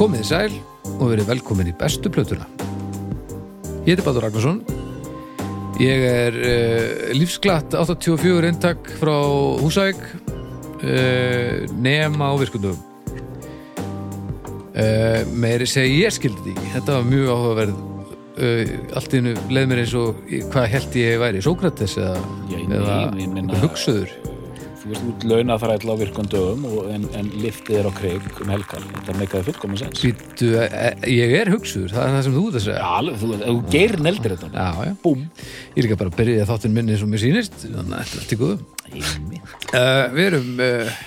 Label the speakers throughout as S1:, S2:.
S1: Komið í sæl og verið velkomin í bestu plötuna. Ég heiti Baldur Ragnarsson. Ég er uh, lífsglatt 84 inntak frá Húsæk uh, nema á virkundum. Uh, meiri segi ég skildi því. Þetta var mjög áhugaverð. Uh, allt í hennu leið mér eins og ég- hvað held ég væri, Sókrates eða,
S2: Já, ég-
S1: eða
S2: ég- ég meina-
S1: einhver hugsuður.
S2: Þú veist út launafræðla á virkum dögum og, en, en liftið er á kreik um helgar. Þetta meikaði fullkomun sens. Já,
S1: Býtu, eh, ég er hugsuður, það er það sem þú ert að segja.
S2: alveg, þú, þú geir neldir þetta.
S1: Já, já.
S2: Búm.
S1: Ég er líka bara að byrja þáttinn minni sem mér sýnist, þannig að þetta er allt í góðu.
S3: Eh,
S1: Uh, við erum... Uh,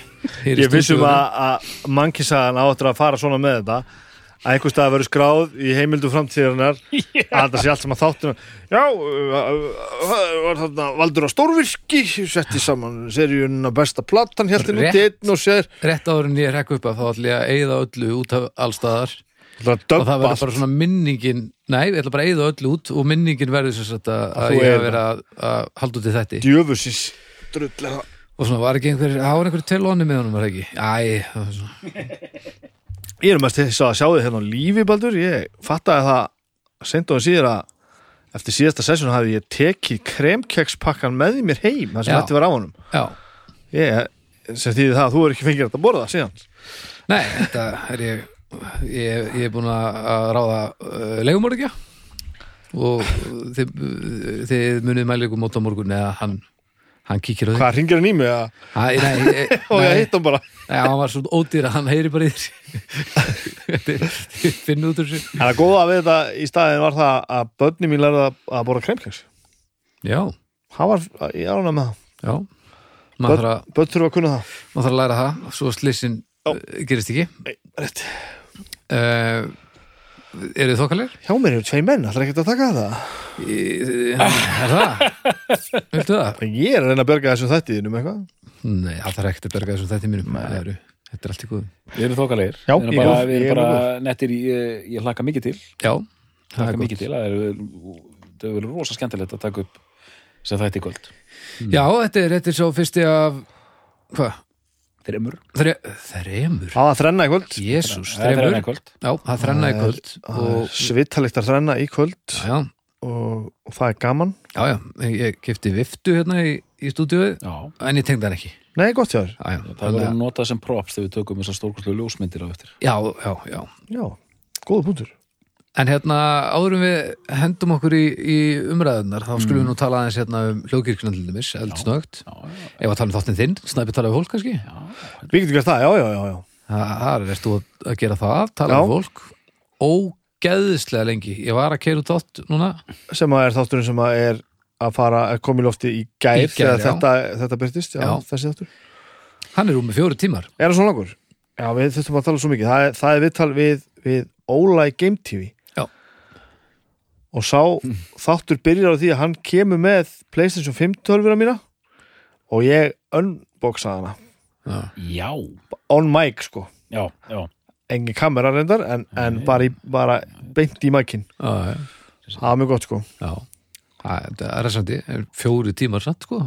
S1: hér í
S3: Ég vissum
S1: stúdíóinu.
S3: að, að mannkisagan áttur að fara svona með þetta að einhvers stað að vera skráð í heimildu framtíðarinnar að þetta sé allt saman þáttunum Já, uh, uh, var þarna Valdur á Stórvirki setti saman seríunna besta platan hélt henni út í
S1: Rétt.
S3: einn og sér
S1: Rétt áður en ég rekk upp að þá ætla ég að eyða öllu út af allstaðar
S3: Það
S1: og það verður
S3: döbbast
S1: bara svona minningin, nei, ég ætla bara að eyða öllu út og minningin verður sem sagt að,
S3: þú
S1: að ég
S3: eyðir
S1: að vera að, að halda út í þetta.
S3: djöfusins drull er það
S1: Og svona var ekki einhver, það var einhver telóni með honum, var það ekki? Æ, það var svona.
S3: Ég er mest þess að sjá þið hérna á lífi, Baldur. Ég fattaði það seint og síður að eftir síðasta sessjón hafi ég tekið kremkekspakkan með í mér heim, það sem
S1: Já.
S3: þetta var á honum.
S1: Já,
S3: Ég, eh, sem þýði það að þú er ekki fengið þetta að borða síðan.
S1: nei, þetta er ég, ég, ég er búin að að ráða uh, legumorgja og þið, þið munið mæli ykkur mót á morgun eða hann, hann kíkir á því.
S3: Hvað ringir hann í mig að,
S1: Æ, nei, ég,
S3: og ég
S1: nei,
S3: hitt hann bara?
S1: Já, hann var svona ódýr að hann heyri bara í þér Finn út úr sér
S3: En að góða við þetta í staðin var það að börnum mín lærði að, að borða kremkeks.
S1: Já,
S3: Það var, ég ána með það.
S1: já Maður þarf að,
S3: Börn þurfa að kunna það.
S1: mað að læra það Svo slissin
S3: Já.
S1: uh, gerist ekki
S3: Nei, rétt.
S1: uh, Eru þið þokkalir?
S3: Hjá mér eru tvei menn, ætlar ekki að taka það.
S1: Er það? Viltu það?
S3: Ég er að reyna að berga þessum þættiðinum eitthvað.
S1: Nei, það þarf ekkert að berga þessum þetta mínum Það eru- Þetta er allt í góðum
S2: Við erum þokalegir.
S3: Já,
S2: við erum
S3: ég
S2: bara,
S3: er-
S2: við
S3: ég
S2: erum
S3: er
S2: bara nettir, í- ég, ég hlakka mikið til.
S1: Já, það er
S2: Hlakka
S1: gott
S2: mikið til. Það er, það er vel rosa skemmtilegt að taka upp sem þetta í kvöld.
S1: Já, þetta er, þetta er svo fyrsti af Hvað?
S2: Þreymur.
S1: Þre, þremur?
S3: Á að þrenna í kvöld.
S1: Jésús,
S2: Það er
S1: þremur
S2: þreymur í kvöld.
S1: Já, það þrenna í kvöld
S3: Og...
S1: og,
S3: Svitalikt að þrenna í kvöld.
S1: já,
S3: og, og það er gaman
S1: Já, já, ég kefti viftu hérna í, í stúdíu
S2: Já.
S1: en ég tengdi hann ekki
S3: Nei, gott hjá þér
S1: Já, já,
S2: Það
S1: þannig
S2: verður
S1: að-
S2: notað sem props þegar við tökum þessar stórkostlegu ljósmyndir á eftir.
S1: já, já, já
S3: Já, góða punktur
S1: En hérna, áðurum við hendum okkur í, í umræðunar þá skulum við nú tala aðeins hérna um hljókirkna til dæmis, eldsnögt
S2: Já, já,
S1: Ef að tala um þáttinn þinn, snæpi tala um fólk kannski
S2: já.
S3: Við getum gert það, já, já, já, já.
S1: Það það er veist þú að að gera það, tala
S3: Já.
S1: um fólk Ógeðislega lengi Ég var að keira út þátt núna
S3: Sem að er þátturinn sem að er að fara að koma í lofti í gær,
S1: Í gær,
S3: þegar
S1: já.
S3: þetta, þetta byrtist já,
S1: Já.
S3: þessi þáttur
S1: Hann er úr með fjóru tímar
S3: Er það svona langur? Já, við þurfum að tala svo mikið Það er, það er viðtal við, við Óla í Game TV
S1: Já.
S3: Og sá þáttur byrjar á því að hann kemur með Playstation 5 tölvuna mína og ég unboxaði hana
S1: Já,
S2: Já,
S3: on mic sko,
S2: já, já.
S3: engin kamera reyndar en, en bara, í, bara beint í mækin
S1: já, já,
S3: það var mjög gott sko
S1: já. Það það er resandi, fjóru tímar satt sko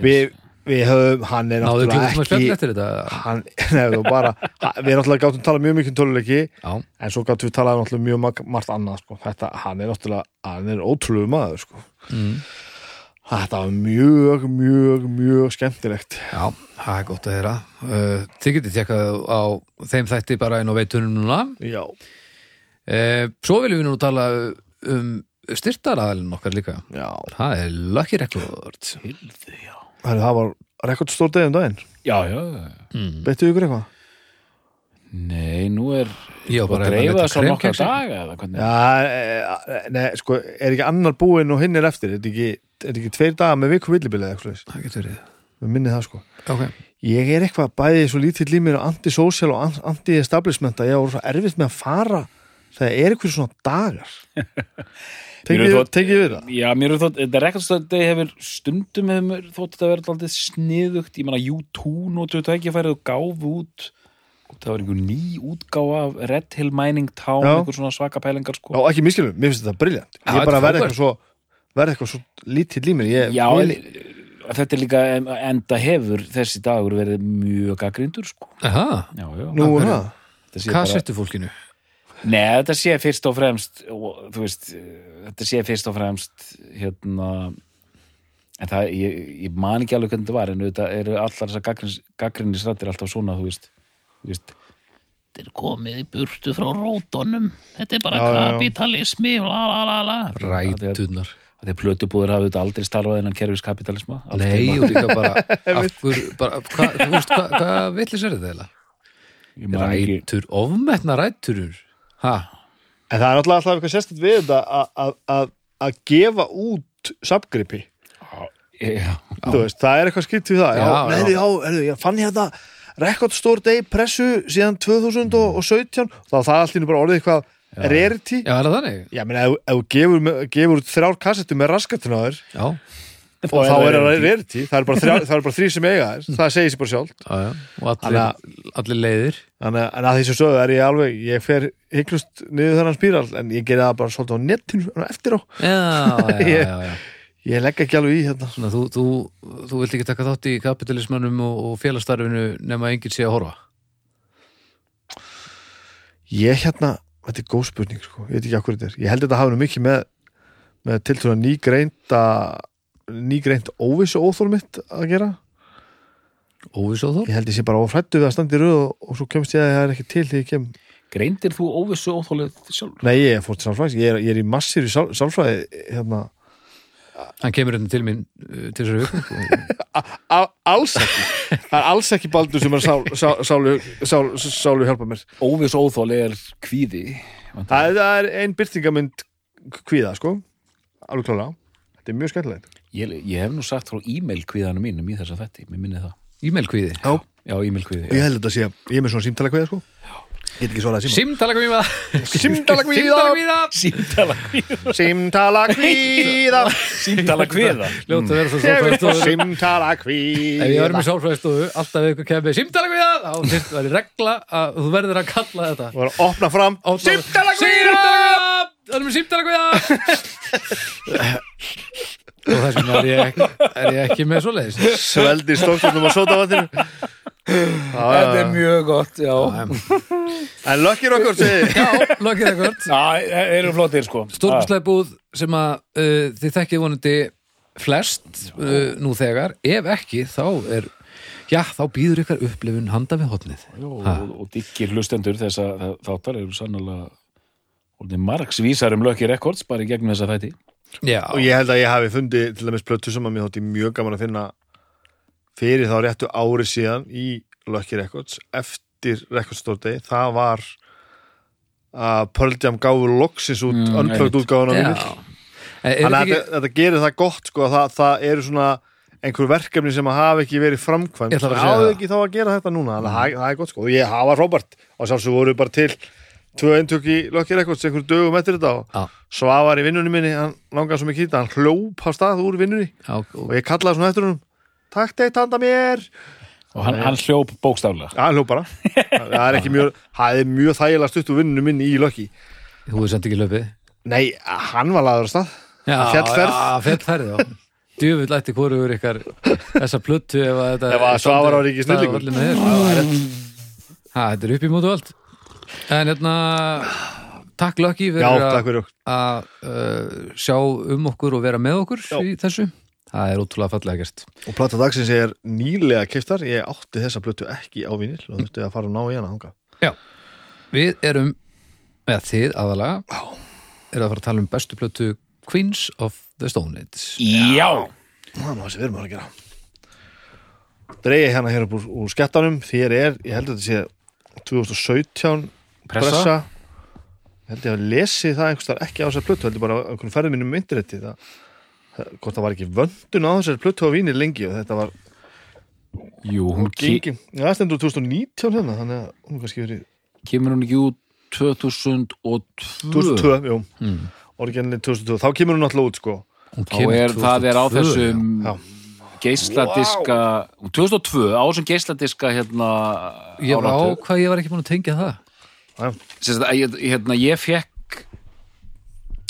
S3: við, við höfum, hann er
S1: Náðu klukkum að spjall
S3: náttúrulega ekki
S1: eftir þetta
S3: hann, nefnum bara ha- við náttúrulega gátum talað mjög mikið um töluleiki
S1: Já,
S3: en svo gátum við talað náttúrulega mjög marg- margt annað sko. þetta, hann er náttúrulega, hann er ótrúlega maður sko.
S1: Mm.
S3: þetta var mjög, mjög, mjög skemmtilegt
S1: Já, það er gott að heyra. Uh, þið getið tjekkað á þeim þætti bara inn á veitunum núna.
S3: já,
S1: Uh, svo viljum við nú tala um styrtaraðalinn okkar líka.
S3: já,
S1: Það er Lucky Record.
S2: Hildi, já.
S3: Heru, það var rekordstór degið um daginn
S2: Já, já, já.
S1: Mm.
S3: beittu ykkur eitthvað?
S2: Nei, nú er
S1: Ég var
S2: og
S1: bara hérna
S2: dreifið
S1: leita
S2: það svo nokkra
S1: kremkexi.
S2: daga eða hvernig
S3: já, e, e, nei, sko, er ekki annar búinn og hinn er eftir er þetta ekki, er þetta ekki tveir dagar með viku villibili eða eitthvað svoleiðis?
S1: Það getur verið.
S3: við minni það sko
S1: Ok.
S3: ég er eitthvað bæðið svo lítill í mér og antisocial og an- anti-establishment að ég voru svo erfitt með að fara þegar er eitthvað svona dagar
S2: Mér er
S3: tengið
S2: þó-
S3: tengið við það
S2: Já, mér er þótt, þetta rekastöndi hefur stundum hefur mér þótt þetta verið alltaf sniðugt, ég meina U2 notuðu tækifærið og gáfu út það var einhver ný útgáfa af Red Hill Mining Town,
S3: Já.
S2: einhver svona svaka pælingar sko.
S3: já ekki miskilum, mér finnst þetta briljant
S1: Já,
S3: ég er
S1: þetta
S3: bara
S1: er
S3: verði
S1: frábært.
S3: eitthvað svo verði eitthvað svo lítill í mér ég,
S2: Já,
S3: vil-
S2: en- þetta er líka en- enda hefur þessi dagur verið mjög gaggrindur sko.
S1: Aha,
S2: Já, já.
S1: af
S3: nú
S1: hverju?
S3: er það
S2: Þetta sé
S1: hvað
S2: bara-
S1: settu fólkinu?
S2: Nei, þetta sé fyrst og fremst og, þú veist, eh, þetta sé fyrst og fremst hérna en það, ég, ég man ekki alveg hvernig þetta var en þetta eru allar þessar gaggrinni strættir alltaf svona, þú veist, þú veist
S4: Þetta er komið í burtu frá rótunum. Þetta er bara
S3: Já, já, já.
S4: kapitalismi, la la la la.
S1: Rætunar
S2: að því að plötubúður hafði þetta aldrei starfað innan kerfiskapitalisma
S1: Nei, og líka bara, af hver, bara hva, Þú veist, hvað hva villis er þetta eiginlega?
S2: ég man ekki
S1: Rætur, ofmetna ræturur Ha,
S3: En það er alltaf alltaf eitthvað sérstætt við þetta að- að- að- að gefa út sapgripi.
S2: Já,
S3: Þú veist, það er eitthvað skipt við það.
S1: Já,
S3: Já, já.
S1: já.
S3: Nei, já, heyrðu, ég fann hérna rekordstór day pressu síðan 2017 þá það er allt í nú bara orðið eitthvað rarity.
S1: já, er það þannig?
S3: Já, menn, ef, ef þú gefur, með- gefur út þrjár kassettu með raskatinn á þér
S1: Já,
S3: og þá er það rarity, það er bara, þrjá, það er bara þrý sem eiga þér, það segir sér bara sjálf
S1: já, já Og allir, allir leiðir
S3: Þannig að- en að því sem sögðu er ég alveg ég fer hygglust niður þennan spíral en ég gerði það bara svolítið á netinu svona eftir á,
S1: Já, já, já, já, já.
S3: ég legg ekki alveg í hérna
S1: Svona, þú, þú, þú vilt ekki taka þátt í kapitalismannum og, og félastarfinu nema enginn sé að horfa
S3: ég hérna, þetta er góð spurning sko. ég veit ekki hvað þetta er, ég held að þetta hafi nú mikið með með tiltrúna nýgreinda nýgreind óvissu óþól mitt að gera,
S1: Óvisóþór?
S3: ég held ég sé bara ofrættu við að standa í röð og, og svo kemst ég að það er ekki til því ég kem
S2: Greindir þú óvissu óþólið sjálf?
S3: Nei, ég er fórt sálfræðis, ég er, ég er í massir í sál, sálfræði hérna,
S1: Hann kemur hérna til mín uh, til þessari hug
S3: a, alls ekki það er alls ekki baldur sem er sál, sál, sálu, sál, sálu hjálpa mér
S2: Óvissu óþólið er kvíði
S3: það, er- það er ein byrtingamynd kvíða, sko alveg klálega, þetta er mjög skemmtilegt
S2: ég, ég hef nú sagt frá e-mail kvíðanum mínum í þess að þetta, mér minni það
S1: E-mail kvíði
S3: Já.
S2: Já, e-mail kvíði
S3: ég held að þetta sé, að- ég er með svona símtala kvíða, sko ég get ekki svarað
S1: Simtala kvíða Simtala
S3: Símtala kvíða
S1: kvíða
S2: Símtala kvíða
S3: Símtala kvíða
S2: Símtala kvíða
S1: Ljóta að vera svo sálfræðistofu
S3: Símtala
S1: Ef ég var með
S3: kvíða
S1: sálfræðistofu, alltaf ef ykkur kemur Simtala kvíða, þá fyrst væri regla að þú verður að kalla þetta
S3: og var að opna fram
S1: Simtala kvíða Það er með simtala kvíða Og þess vegna er ég, er ég ekki með svoleiðis
S3: sveldi stókstofnum á sótavatninu
S2: Þetta er mjög gott, já
S3: en lökkir okkur segir
S1: Já, lokið ekkert
S2: Það eru flottir, sko
S1: Stórkustlega búð sem að uh, þið þekkið vonandi flest uh, nú þegar, ef ekki þá er, já þá býður ykkar upplifun handa við hotnið
S2: Já,
S1: Ha.
S2: og, og diggir hlustendur þess að þáttar eru sannlega orðið margsvísar um Lucky Records bara í gegnum þessa þætti
S1: Já,
S3: og ég held að ég hafi fundið til dæmis plötu sem að mér þótti mjög gaman að finna fyrir þá réttu ári síðan í Lucky Records eftir Records Store Day það var að Pearl Jam gáfu loksins út
S2: Mm,
S3: mm, unplugged
S2: einmitt.
S3: útgáfuna
S1: já.
S3: vinil
S1: Er
S3: þannig
S1: þetta
S3: að
S1: ekki,
S3: þetta, þetta gerir það gott sko, að það, það eru svona einhver verkefni sem að hafa ekki verið framkvæmt
S1: Ég ætla bara að segja
S3: áður
S1: það.
S3: ekki þá að gera þetta núna þannig að það, það er gott sko, og ég hafa Robert og sjálfsög voru bara til tvö eintök í Lucky Records einhver dögum eftir þetta og
S1: Já.
S3: Svavar í vinnunni minni, hann langaði svo mikið í þetta hann hljóp á stað úr vinnunni
S1: já, og-
S3: og ég kallaði svona eftir húnum Takk deitt handa mér
S2: og hann, hann hljóp bókstaflega
S3: Já, hann hljóp bara Það er ekki mjög, það er mjög þægilega stutt úr vinnunni minni í Lucky
S1: þú er samt ekki löpið
S3: Nei, hann var laður á stað
S1: Já,
S3: Fjallferð.
S1: já, fjallferð, já Djöfull ætti hvorugur ykkar þessa plöttu ef að þetta
S3: Ef að Svavar var ekki
S1: staðið á
S3: snillingur.
S1: öllum með þér. Ha, Þetta er upp í mótu allt En hérna Takk Lucky
S3: Já,
S1: fyrir að
S3: takk fyrir okkur
S1: að uh, sjá um okkur og vera með okkur í þessu það er ótrúlega fallega gert
S3: Og plata dagsins er nýlega keftar Ég átti þessa plötu ekki á vinnil og þurfti að fara og ná í hana þangað
S1: við erum, eða þið aðalega eru að fara að tala um bestu plötu Queens of the Stone Age
S2: Já,
S3: Það er nú það sem við erum að gera Dreigi hérna hér upp úr, úr skettanum Þér er, ég held að þetta sé 2017
S2: Pressa.
S3: Ég held ég að lesi það einhvers þar ekki á þessar plötu heldur bara á einhvern ferði mínum um interneti það, það, hvort það var ekki vöndun á þessar plötu á víni lengi og þetta var
S2: jú, hún ke
S3: gengi, já, það stendur 2019 hérna þannig að hún er kannski verið
S2: kemur hún ekki út 2002
S3: 2002, jú, mm. orginni 2002 þá kemur hún alltaf út sko
S1: Hún
S2: þá
S1: kemur
S2: er það er á
S1: 2002,
S2: þessum
S3: Já.
S2: geisladiska 2002, á þessum geisladiska hérna
S1: já. ég var á
S2: áratug.
S1: hvað ég var ekki búin að tengja það
S2: Sem sagt, að ég- hérna, ég fekk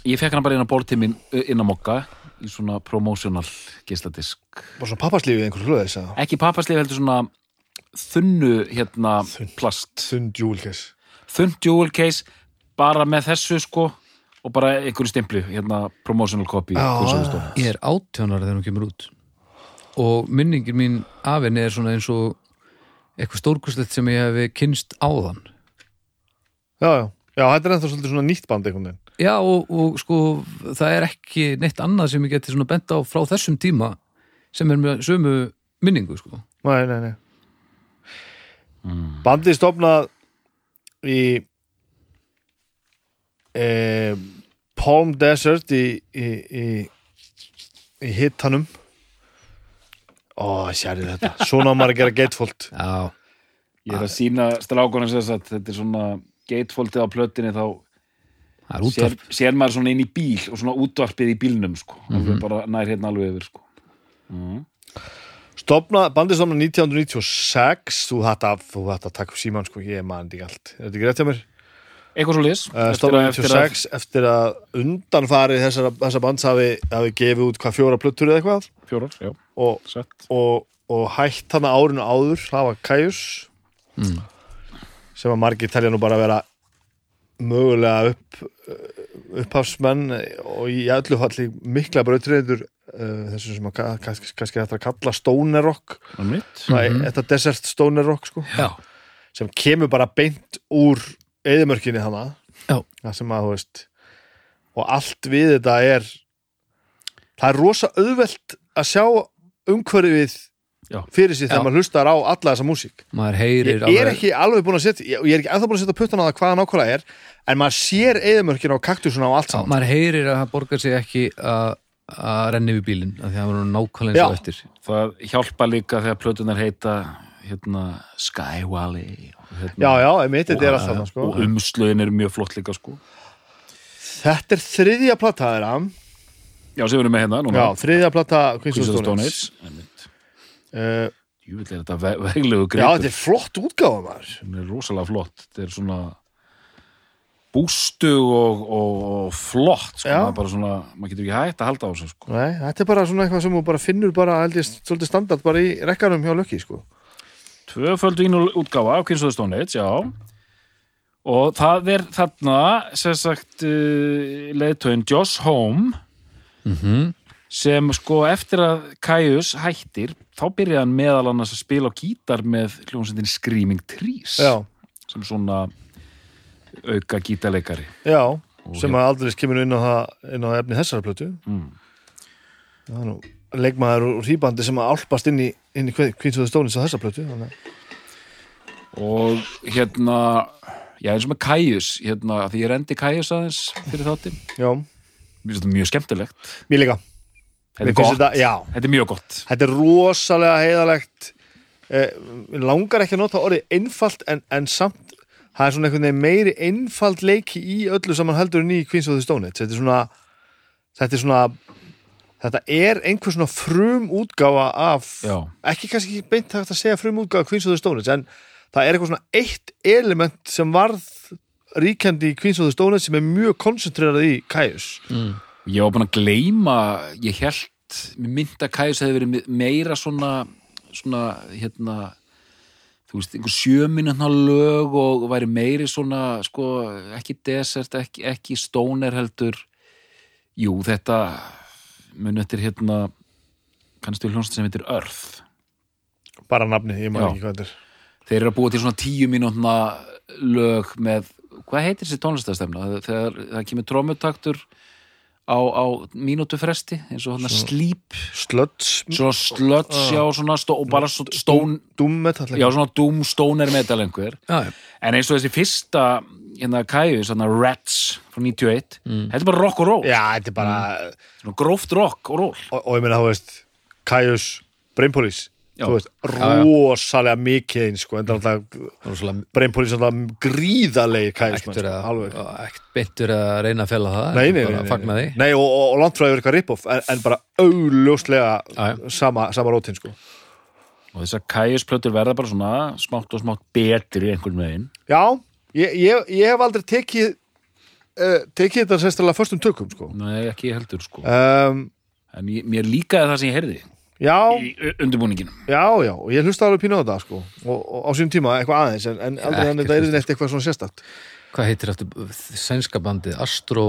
S2: ég fekk hana bara inn á bortið minn eh, inn á mokka í svona promotional geisladisk
S3: bara svona pappaslífið einhvern hlöðu þess að
S2: ekki pappaslif heldur svona þunnu hérna plast
S3: þund júlkes
S2: þunn jewel case bara með þessu sko og bara einhverju stimplu, hérna promotional copy kursöfustofan.
S1: Ég er átjónar þegar hún kemur út og minningin mín af henni er svona eins og eitthvað stórkustlegt sem ég hef kynst áðan
S3: já, já, já, þetta er ennþá svolítið svona nýtt band einhvern veginn
S1: Já og, og sko það er ekki neitt annað sem ég geti svona bent á frá þessum tíma sem er með sömu minningu sko
S3: Nei, nei, nei Bandið stofnað í e, Palm Desert í, í, í, í hittanum Ó, sérðu þetta Svona á maður að gera gatefold
S1: Já,
S2: Ég er að sína strákunum sem sagt, þetta er svona gatefoldið á plötinni þá
S1: það er
S2: sér,
S1: útvarp
S2: sér maður svona inn í bíl og svona útvarpið í bílnum sko, alveg bara nær hérna alveg yfir sko.
S3: Stopna, bandið stopnað 1996 Þú hætt að, þú hætt að taka upp síman sko, ég man þetta ekki allt Er þetta ekki rétt hjá mér?
S2: Eitthvað svo lis
S3: Uh, stofnað 96 eftir að undanfarið þessar, þessar bands hafi, hafi gefið út hvað fjóra plöttur eða eitthvað
S2: Fjórar, já,
S3: og,
S2: sett
S3: og, og hætt hana árinu áður það var Kajus Mm. sem að margir telja nú bara að vera mögulega upp, upphafsmenn og í öllu falli mikla brautriður uh, þessu sem að ka- kannski, kannski hægt að kalla stoner rock
S2: Það er mitt
S3: mm þetta desert stoner rock sko,
S1: Mhm. Já,
S3: sem kemur bara beint úr eðimörkinni hana
S1: Já.
S3: það sem að þú veist og allt við þetta er það er rosa auðvelt að sjá umhverfið
S2: Já.
S3: fyrir sér þegar
S1: Já.
S3: maður hlustar á alla þessa músík
S1: maður heyrir
S3: ég er ekki alveg búinn að setja ég ég er ekki ennþá búinn að setja puttan á það hvaðan ákvæða er en maður sér eðumörkin á kaktusuna og allt
S1: Já,
S3: saman
S1: maður heyrir að það borgar sig ekki að að renni við bílinn af því að það var nú nákvæmlega
S3: Já.
S1: eins og eftir
S2: Það hjálpa líka þegar plötunar heita hérna Skywally og hérna,
S3: já, já, einmitt, þetta er allt saman sko.
S2: og umslögin er mjög flott líka sko
S3: þetta er þriðja plata þeirra
S2: Já, sem við erum með hérna núna
S3: já, þriðja plata Queens
S2: Queens
S3: of
S2: of
S3: the
S2: Stone
S3: Stone Age
S2: Age Einmitt.
S3: Uh,
S2: Jú, þetta er þetta ve- veglegu
S3: já, þetta
S2: greipur
S3: er flott útgáfa maður
S2: Hún er rosalega flott Þetta er svona bústu og, og, og flott sko.
S3: Já.
S2: maður, bara svona, maður getur ekki hægt að halda á þessu sko.
S3: Nei, þetta er bara svona eitthvað sem þú bara finnur bara held ég svolítið standart bara í rekkanum hjá Lökki sko.
S2: Tvöföld vínul útgáfa af Queens of the Stone Age, já og það er þarna sem sagt uh, leiðtögin Josh Home
S3: Mhm.
S2: sem sko eftir að Kaius hættir þá byrjaði hann meðal annars að spila á gítar með hljómsveitin Screaming Trees
S3: Já,
S2: sem svona auka gítarleikari
S3: já sem að aldrei kemur inn á, það, inn á efni þessara plötu
S2: Mm.
S3: Það er nú leikmaður úr hýbandi sem að álpast inn í, inn í Queens of the Stone Age á þessa plötu þannig. að-
S2: og hérna já eins og með Kaius hérna, af því ég rendi Kaius aðeins fyrir þátti
S3: Já,
S2: Mér finnst þetta mjög skemmtilegt
S3: mér líka
S2: þetta
S3: Mér
S2: er,
S3: finnst
S2: gott,
S3: þetta, já,
S2: þetta er mjög gott
S3: þetta er rosalega heiðalegt eh, mig langar ekki að nota orðið einfalt en, en samt það er svona einhvern veginn meiri einfalt leiki í öllu saman heldur en í Queens of the Stone Age þetta er svona þetta er svona þetta er einhver svona frum útgáfa af
S2: Já.
S3: ekki kannski ekki beint hægt að segja frum útgáfa af Queens of the Stone Age en það er eitthvað svona eitt element sem varð ríkjandi í Queens of the Stone Age sem er mjög koncentrerað í Kaius
S2: Mm. Ég var búin að gleyma, ég held mér mynda Kæs hefði verið me- meira svona svona, hérna þú veist, einhver sjöminutna lög og væri meiri svona sko, ekki desert, ekki, ekki stóner heldur jú, þetta mun eftir hérna kannski hljónst sem heitir Earth
S3: bara nafni, ég maður
S2: Já.
S3: ekki hvað þetta er
S2: þeir eru að búa til svona tíu mínútna lög með, hvað heitir þessi tónlistastefna þegar það kemur trómutaktur á, á mínútu fresti eins og hann slíp
S3: Sludge,
S2: svona slöts já, svona stó, og bara svona stón
S3: Doom Metal
S2: já, svona doom stóner metal einhver
S1: Já, já.
S2: en eins og þessi fyrsta hérna kæju, svona Rats frá 91, þetta er bara rock og roll
S3: Já, þetta er bara
S2: svona gróft rock og roll
S3: Mm. og, og ég meina, þú veist, Kajus Brainpolis,
S2: Já.
S3: þú veist rosalega mikið eins, sko en það er alltaf,
S1: rosalega
S3: Brainpolis er alltaf gríðalegi Kajus,
S1: ekkert verið
S3: alveg
S1: að- ekkert beint verið að reyna að fela það
S3: Nei,
S1: en
S3: nei,
S1: bara
S3: nei,
S1: fagna
S3: nei,
S1: því
S3: nei og, og, og landfræður eitthvað ripoff en, en bara augljóslega
S1: Já,
S3: sama, sama rótin, sko
S2: og þessar kæjusplötur verða bara svona smátt og smátt betri einhvern veginn
S3: Já, ég, ég, ég hef aldrei tekið uh, tekið þetta sérstæðlega föstum tökum, sko
S2: nei, ekki heldur sko
S3: um,
S2: en ég, mér líkaði það sem ég heyrði
S3: Já,
S2: í u- undirbúninginum
S3: já, já og ég hlusta alveg pínu á þetta, sko og, og á sínum tíma eitthvað aðeins en, en aldrei
S1: Ekkert
S3: þannig að þetta er neitt eitthvað svona sérstætt
S1: hvað heitir aftur sænska bandið Astro,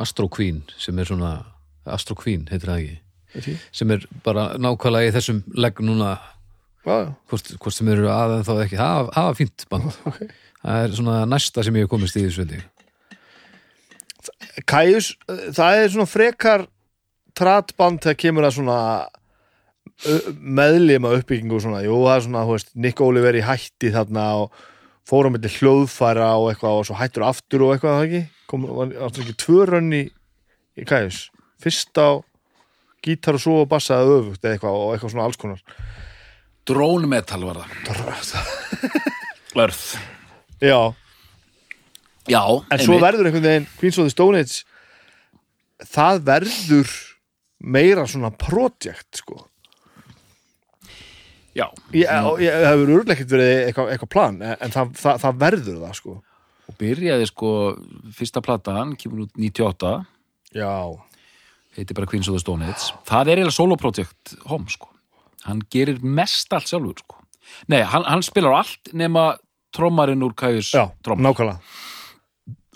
S1: Astro Queen sem er svona, Astro Queen heitir það ekki sem er bara nákvæmlega í þessum legg núna
S3: já,
S1: hvort, hvort sem eru aðeins þá ekki það hafa fínt band það er svona næsta sem ég hef komist í þessu held ég.
S3: já. Kæjus, eh, það er svona frekar tratband þegar kemur að svona ö- meðlima uppbyggingu og svona, jú, það er svona, þú veist, Nick Oliver í hætti þarna og fórum milli hljóðfæra og eitthvað og svo hættur aftur og eitthvað, það ekki? Kom, var, var það ekki tvö rönn í, í Kæjus? Fyrst á gítar og svo á bassa eða öfugt eða eitthvað og eitthvað svona alls konar.
S2: Drone metal var það Earth
S3: Já,
S2: Já,
S3: en svo verður einhvern veginn Queens of the Stone Age það verður meira svona projekt sko
S2: Já,
S3: ég, og ég, það hefur örugglega ekkert verið eitthvað, eitthvað plan en, en það, það, það verður það sko
S2: og byrjaði sko fyrsta platan, kemur út 98
S3: já,
S2: heitir bara Queens of the Stone Age það er eiginlega soloprojekt Hom sko. hann gerir mest allt sjálfur sko. nei, hann, hann spilar á allt nema trommarinn úr Kajus
S3: já
S2: trommar
S3: nákvæmlega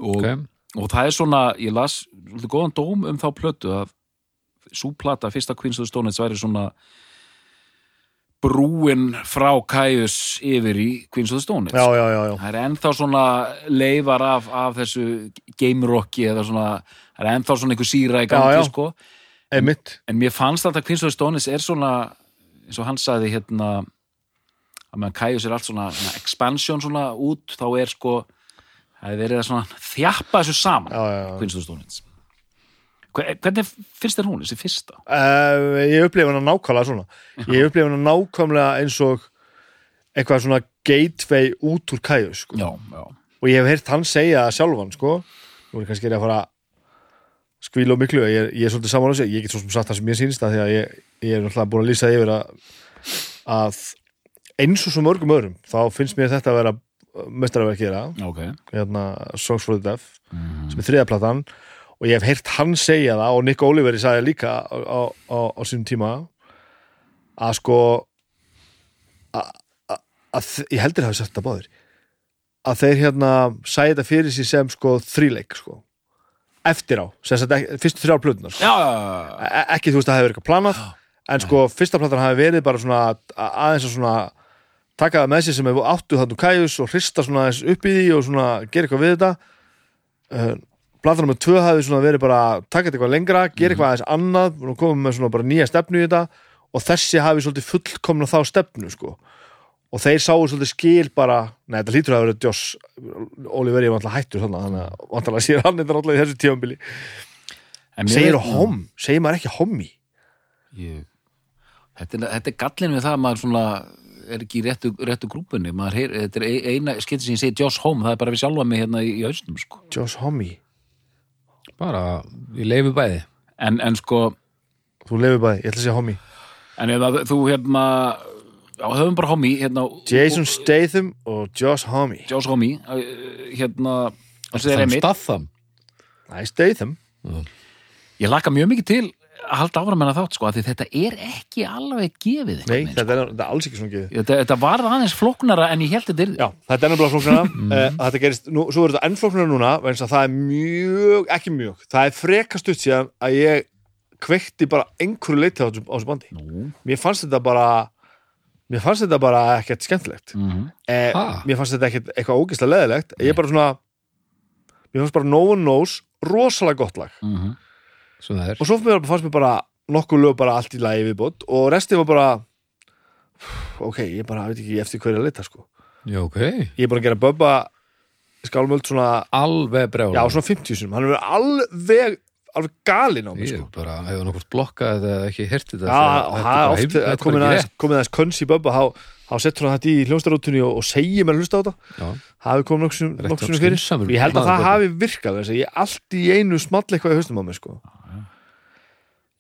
S2: og,
S1: ok,
S2: og það er svona, ég las svolítið góðan dóm um þá plötu að sú plata, fyrsta Queens of the Stone Age væri svona brúin frá Kajus yfir í Queens of the Stone Age
S3: já, já, já, já.
S2: Það er ennþá svona leifar af, af þessu gamerocki eða svona, það er ennþá svona einhver síra í gangi,
S3: Já, já.
S2: sko.
S3: einmitt
S2: En mér fannst alltaf Queens of the Stone Age er svona, eins og hann sagði hérna, að meðan Kaius er allt svona, svona expansion svona út, þá er sko, það er verið að svona þjappa þessu saman,
S3: já, já, já.
S2: Queens of the Stone Age. Hve- Hvernig finnst þér hún, þessi fyrsta?
S3: Uh, ég upplifa hana nákvæmlega svona ég upplifa hana nákvæmlega eins og eitthvað svona gateway út úr kæju sko.
S2: Já, já.
S3: og ég hef heyrt hann segja það sjálfan sko. nú er ég kannski er ég að fara að skvíla og miklu, ég er, ég er svolítið saman á þessu ég get svo sem sagt það sem ég sýnist það því að ég, ég er náttúrulega búin að lýsa því yfir að, að eins og svo mörgum öðrum þá finnst mér þetta að vera mestarverkið þeirra
S2: Ok.
S3: hérna, Songs for the Deaf sem er þriðaplatan og ég hef heyrt hann segja það og Nick Oliveri sagði líka á, á, á, á sínum tíma að sko að- að að- ég heldur hafi sagt það báðir að þeir hérna sæði þetta fyrir sér sem sko þríleik sko eftir á, sem sagt ekki- fyrstu þrjár plötunar sko.
S2: Já, já, já, já.
S3: E- ekki þú veist að það hefur eitthvað planað en sko fyrsta platan hafi verið bara svona a- aðeins að svona taka það með sér sem hefur áttu þannig kæjus og hrista svona aðeins upp í því og svona gera eitthvað við þetta uh, platan nummer tvö hafi svona verið bara taka þetta eitthvað lengra, gera eitthvað aðeins annað og komum með svona bara nýja stefnu í þetta og þessi hafi svolítið fullkomna þá stefnu sko og þeir sáu svolítið skil bara nei þetta hlýtur að vera Joss Oliveri var alltaf hættur þannig þannig að vantarlega sér hann þetta alltaf í þessu tífambili
S2: En mér-
S3: segir hom, segir maður ekki homi
S2: Mm, ég, þetta, er, þetta er gallin við það að maður svona er ekki í réttu, réttu grúpunni maður heyr, þetta er ein- eina skipti sem ég segi Josh Home, það er bara við sjálfa mig hérna í, í hausnum sko.
S3: Joss homi,
S1: bara ég leifi bæði
S2: en, en sko
S3: þú lefur bæði, ég ætla að segja homi
S2: en ef að þú hérna já, höfum bara Homie hérna,
S3: Jason Statham og Josh homi
S2: Josh Homie eh, hérna eins og þeir
S1: þannig
S2: einmitt.
S1: staðfam
S3: nei Statham
S2: ég laka mjög mikið til að halda áfram hennar þátt sko, af því þetta er ekki alveg gefið
S3: Nei,
S2: einhvern veginn,
S3: þetta er, þetta er alls ekki svona gefið
S2: sko. þetta, þetta var aðeins flóknara en ég held þetta er
S3: Já, þetta er nefnilega flóknara uh, Þetta gerist, nú, svo er þetta ennflóknara núna vegna þess að það er mjög, ekki mjög það er frekast út síðan að ég kveikti bara einhverju leiti á þessu á þessu bandi
S2: Nú,
S3: Mér fannst þetta bara mér fannst þetta bara ekkert skemmtilegt
S2: mm
S3: eh,
S1: Ha?
S3: Mér fannst þetta ekkert eitthvað ógeðslega leðilegt Ég bara svona mér fannst bara No One Knows rosalega gott lag
S2: mhm.
S1: svona það er
S3: og svo fyrir mér fannst mér bara nokkuð lög bara allt í lagi viðbót og restið var bara ok, ég bara veit ekki eftir hverju að leita sko
S1: já, ok,
S3: ég er bara að gera Bubba skálmöld svona,
S1: alveg brjál
S3: já svona 50 sinum hann er alveg, alveg galinn á mig
S1: ég
S3: sko
S1: bara hefur nokkurt blokkað eða ekki hirti þetta
S3: já, hann oft
S1: þetta er bara
S3: komin
S1: ekki
S3: aðeins,
S1: rétt.
S3: komin aðeins könns í Bubba þá, þá settur hann þetta í hljónstarótunni og, og segir mér að hlusta á þetta
S1: Já.
S3: það hefur komið nokksum,
S1: Rétt
S3: nokksum
S1: og
S3: fyrir
S1: skynsamur
S3: ég held að
S1: maður,
S3: það
S1: Bubbi.
S3: hafi virkað þess að ég allt í einu small eitthvað í haustum á mig sko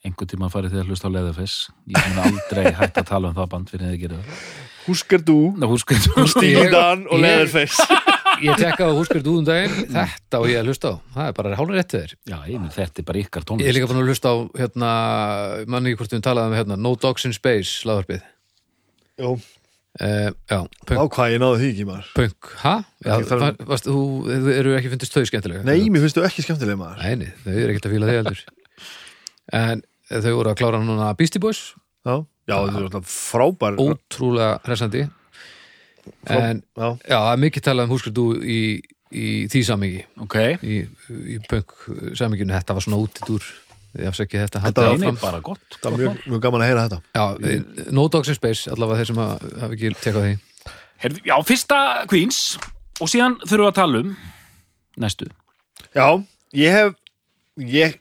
S2: einhvern tíma farið þið að hlusta á Leatherface ég mun aldrei hægt að tala um það band fyrir þið að gera það
S3: húskar þú,
S2: Ná, hún sko,
S1: Ég-
S3: Stíldan og
S1: ég-
S3: Leatherface
S1: ég tekka á húsbjörn dúðum daginn þetta og ég að hlusta á, það er bara hálfur rétt þér
S2: já, ég minn, þetta er bara ykkar
S1: ég er
S2: tónlist
S1: líka búin að hlusta á hérna, mann ekki hvort við talaðum um, hérna, No Dogs in Space lagarpið
S3: Jú.
S1: uh, Já,
S3: Á
S1: punk,
S3: hvað ég náði því ekki maður
S1: punk Ha? Já,
S3: Ekki þarf-
S1: var, varst, þú, þú eru ekki fundist þau skemmtilega
S3: Nei, mér finnst þú ekki skemmtileg maður
S1: Nei, nei, þau eru ekkert að fíla þig heldur En þau voru að klára núna Beastie Boys
S3: Já, já þú er alltaf frábær
S1: Ótrúlega hressandi En
S3: Já,
S1: já, það er mikið talað um húskrið í, í því samingi
S2: ok,
S1: í, í punk saminginu Þetta var svona útidur Ég afsækki þetta
S3: Þetta var
S1: haldið
S2: eini
S1: áfram.
S2: bara gott
S3: það er mjög, mjög gaman að heyra þetta
S1: Já, eh, No Dogs in Space, allavega þeir sem að- hafa ekki tekað því
S2: Herðu, já, fyrsta Queens og síðan þurfum við að tala um næstu,
S3: Já, ég hef ég,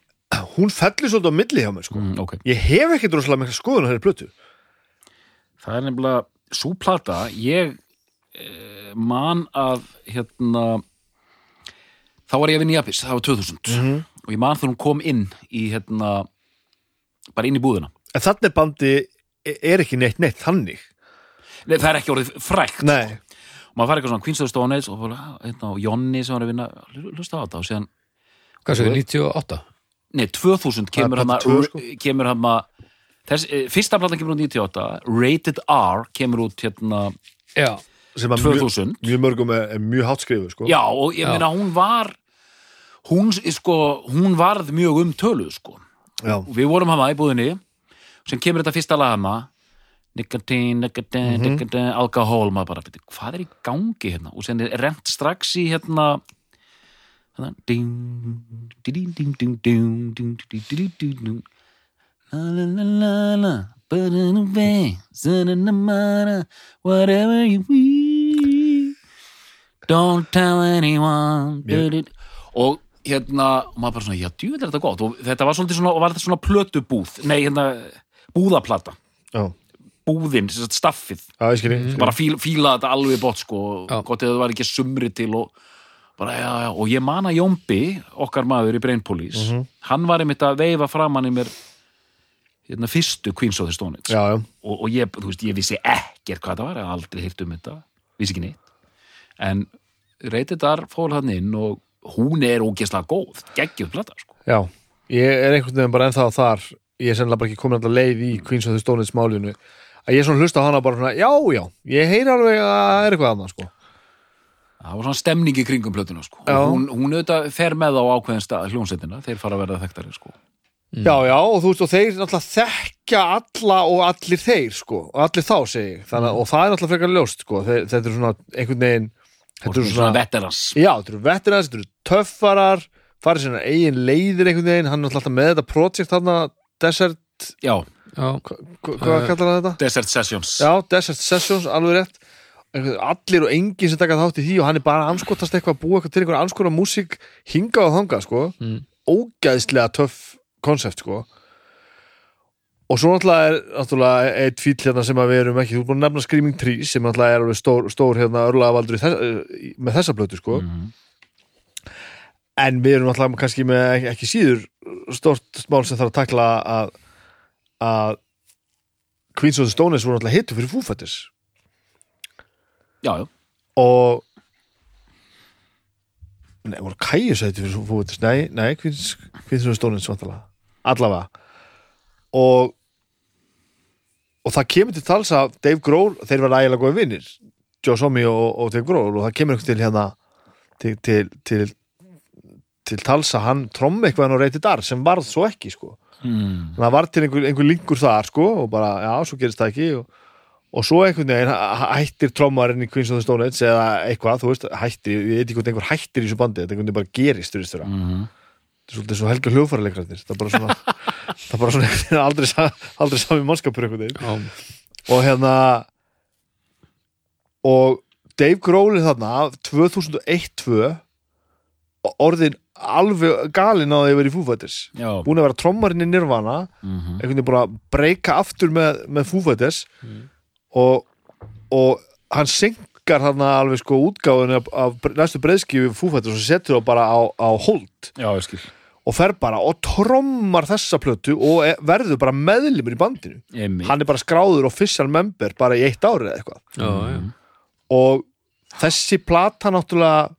S3: Hún fellur svolítið á milli hjá mér sko.
S2: mm, ok
S3: Ég hef ekkert rosalega mikla skoðun að hér plötu
S2: það er nefnilega svo plata ég eh, man að hérna þá var ég að vinna í Apis, það var 2000
S3: Mhm.
S2: og ég man þegar hún kom inn í hérna bara inn í búðina
S3: En þannig bandi e, er ekki neitt neitt þannig
S2: Nei, það er ekki orðið frækt
S3: Nei,
S2: og maður fær eitthvað svona Queen's of the Stone Age og, bara, hérna, og Jonni sem var að vinna hlu- hlusta á þetta og síðan,
S1: Hvað séu, 98?
S2: nei, 2000 kemur
S3: Það er
S2: hann
S3: plata tvö, sko.
S2: að kemur hann að þess, eh, fyrsta platan kemur út 98 Rated R kemur út hérna
S1: Já,
S3: sem að
S2: 2000.
S3: mjög, mjög mörgum er, er mjög hátt skrifu sko.
S2: Já, og ég
S1: Já.
S2: meina hún var hún, sko, hún varð mjög umtöluð sko.
S3: Já.
S2: og við vorum hana í búðinni sem kemur þetta fyrsta lag hana nikotín, nikotín, nikotín alkohól, maður bara, "Bíddu, hvað er í gangi hérna, og sem er rent strax í hérna hérna, ding, ding, ding, ding, ding, ding, ding, ding, ding, ding, la la la la la but in a way, no matter whatever you be don't tell anyone
S3: Mér-
S2: du- du- du. og hérna, og maður bara svona, já, djúvel er þetta gott og þetta var svolítið svona, og var þetta svona plötubúð nei, hérna, búðaplata
S3: Já.
S2: búðin, sem sagt staffið
S3: Já, ég skil ég skil.
S2: bara fíla, fíla þetta alveg bótt sko
S1: Já.
S2: gott eða það var ekki sumri til og bara já, já, og ég man að Jómbi okkar maður í Brain Police hann var einmitt að veifa framann í mér hérna fyrstu Queens of the Stone Age
S3: Já, já,
S2: og, og ég, þú veist, ég vissi ekkert hvað það var, ég hafði aldrei hýrt um þetta vissi ekki neitt en reytiðar fór hann inn og hún er ógeðslega góð, geggjöð plata sko.
S3: já Ég er einhvern veginn bara ennþá þar Ég er sennilega bara ekki komin alltaf leið í Queens of the Stone Age málinu að ég svona hlusta á hana bara svona, já, já, ég heyri alveg að það er eitthvað annað, sko.
S2: það var svona stemning í kringum plötuna sko.
S3: Já.
S2: og hún, hún auðvitað fer með á ákveðin stað hljónsetina, þeir fara að verða þekktari sko.
S3: Já, já, og þú veist, og þeir náttúrulega þekkja alla og allir þeir, sko, og allir þá, segi ég, þannig að, og það er náttúrulega frekar ljóst, sko, Þe- þetta er svona einhvern veginn,
S2: og
S3: þetta
S2: svona, svona
S3: er svona,
S2: veterans
S3: já, þetta eru veterans, þetta eru töffarar, farið sinna eigin leiðir einhvern veginn, hann er náttúrulega alltaf með þetta projekt þarna, Desert,
S2: já,
S1: já,
S3: hva- hvað
S1: Eh,
S3: kallar það þetta?
S2: Desert Sessions
S3: Já, Desert Sessions, alveg rétt Einhver- allir og enginn sem taka þátt í því og hann er bara að anskotast eitthvað að búa eitthvað til einhverja anskora músík hingað og þangað sko
S1: Mm.
S3: ógæðslega töff konsept sko og svo náttúrulega er náttúrulega eitt fýll hérna sem að við erum ekki þú er búin að nefna Screaming Trees sem náttúrulega er alveg stór, stór hérna örlaða valdur þess, eh, með þessa blötu sko
S2: Mhm.
S3: en við erum náttúrulega kannski með ekki, ekki síður stórt mál sem þarf að takla að, að Queens of the Stone Age voru náttúrulega hittu fyrir fúfættis
S2: já, já,
S3: og Nei, voru kæjusæti fyrir fúfættis Nei, nei, Queens, Queens of the Stone Age vantalega Allavega og og það kemur til tals að Dave Grohl þeir verða ægilega góði vinnir Joe Somi og, og Dave Grohl og það kemur eitthvað til hérna til, til, til, til tals að hann trommi eitthvað hann og reyti dar sem varð svo ekki sko
S2: mm.
S3: þannig að það var til einhver, einhver lingur þar sko og bara, já, svo gerist það ekki og, og svo einhvern veginn hæ- hættir trommarinn í Queens of the Stone Age eða eitthvað, þú veist, hættir, ég veit ekki hvort einhver hættir í þessu bandi, þetta einhvern veginn bara gerist þú veist þurra,
S2: Mhm.
S3: þetta er svolítið svo helga hljóðfæraleikrarnir það er bara svona það er bara svona einhvern veginn aldrei, sa- aldrei sami mannskapur einhvern veginn
S1: já.
S3: og hérna og Dave Grohl er þarna 2001-2 orðin alveg galinn á því að vera í fúfættis
S2: já,
S3: búin að vera trommarinn í Nirvana
S2: mhm.
S3: einhvern veginn bara að breyka aftur með, með Fúfætis og, og hann synkar hann alveg sko útgáðinu af, af næstu breyðskjöfu Fúfætis og setur það bara á, á hold
S2: já, ég skil
S3: og fer bara og trommar þessa plötu og er, verður bara meðlimur í bandinu
S2: Einmitt.
S3: hann er bara skráður official member bara í eitt ári eða eitthvað
S1: já, já.
S3: og þessi plata náttúrulega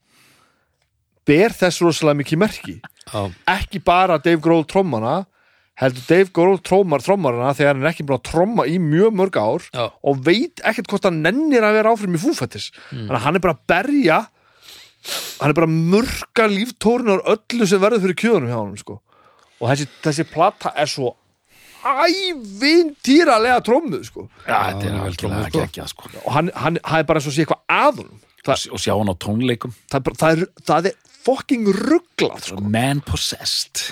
S3: ber þess rosalega mikið merki
S1: já.
S3: ekki bara Dave Grohl trommana heldur Dave Grohl trómar trómarana þegar hann er ekki búin að tróma í mjög mörg ár
S1: Já.
S3: og veit ekkert hvort hann nennir að vera áfram í fúfættis þannig að hann er bara að berja hann er bara að mörka líftórinu og öllu sem verður fyrir kjöðunum hjá hann sko. og þessi, þessi plata er svo ævintýralega trómuð sko.
S2: Já, þetta er
S1: hann er vel
S2: algjörlega
S1: trómuð,
S2: ekki
S1: sko.
S2: ekki að sko
S3: og hann, hann, hann er bara svo sé eitthvað aðunum
S2: Og
S3: það,
S2: s- og sjá hann á tónleikum
S3: það, er bara- það, er, það er fucking rugglað sko.
S2: Man possessed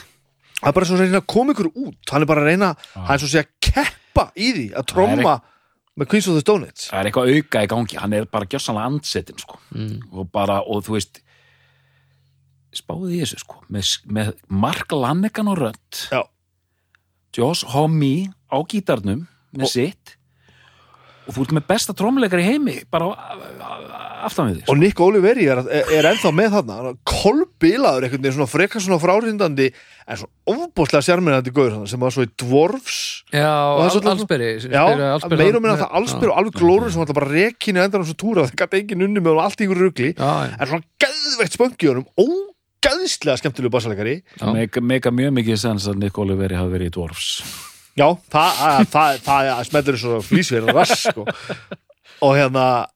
S3: það er bara svo að reyna að koma ykkur út hann er bara að reyna,
S2: Ah.
S3: hann er svo að segja keppa í því að tróma með Queens of the Stone Age
S2: það er eitthvað auka í gangi, hann er bara gjössanlega andsetin sko.
S1: Mm.
S2: og bara, og þú veist spáði ég þessu sko með, með Mark Lannegan og Rönd
S3: Já.
S2: Joss Homme á gítarnum með sitt og þú ert með besta trómuleikar í heimi bara á- á- á- aftan við þig sko.
S3: og Nick Oliveri er, er, er ennþá með þarna hann er kolbilaður einhvern veginn svona frekar svona frárindandi en svo ofbúslega sérmennandi gaur hann sem var svo í Dwarfs
S1: Já,
S3: Og það er
S1: al,
S3: svolítið-
S1: allsberi
S3: já, meira og minna það allsbyrð og alveg glórun sem alltaf bara rekinu endan á svo túra það gæti enginn unni með hann allt í ykkur rugli
S1: Já, já,
S3: en svona geðveitt spöngi honum ógeðslega skemmtilegu bassalegari
S1: já.
S2: Mega, mega mjög mikið sens að Nick Oliveri hafi verið í Dwarfs
S3: Já, það, það, það, það smeldur svo flýsverið rass sko. og hérna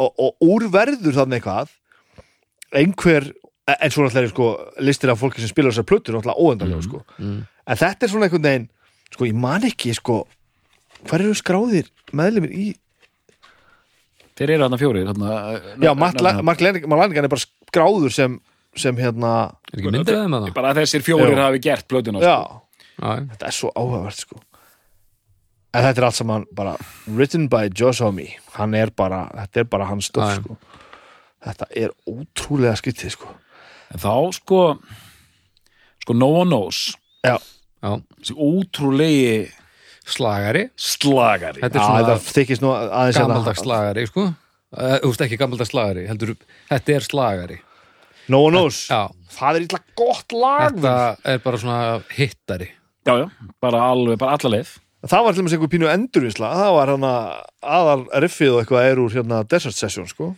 S3: og, og úrverður þannig eitthvað einhver en svo náttúrulega er, sko, listir af fólki sem spila þessar plötur náttúrulega óendanlega sko. en þetta er svona einhvern veginn sko, ég man ekki sko, hver eru skráðir meðlumir í
S2: þeir eru hann að fjóri hann að,
S3: Já, Mark La- Mark Lannigan er bara skráður sem, sem hérna
S1: Er ekki um myndir þeim að það?
S2: bara þessir fjórir
S3: Já.
S2: hafi gert blöðuna sko.
S3: Já,
S1: Já,
S3: þetta er svo áhugavert sko en þetta er allt saman bara written by Josh Homme hann er bara, þetta er bara
S1: Já,
S3: hans
S1: já.
S3: stöf sko. þetta er ótrúlega skyttið sko
S2: En þá sko sko No One Knows
S3: já,
S1: já.
S2: þessi ótrúlegi
S1: Slagari
S2: slagari
S1: Þetta
S3: já
S1: er svona
S3: þetta þykist nú aðeins hérna-
S1: gammaldags slagari, sko Eh, Þú veist ekki gammaldags slagari, heldur Þetta er slagari
S3: No one knows,
S1: Já,
S3: það er illa gott lag
S1: þetta
S3: þetta...
S1: er bara svona hittari
S2: já, já, bara alveg, bara alla leið
S3: það var til dæmis einhver pínu endurvinsla það var hann aðal riffið og eitthvað er úr hérna Desert Session sko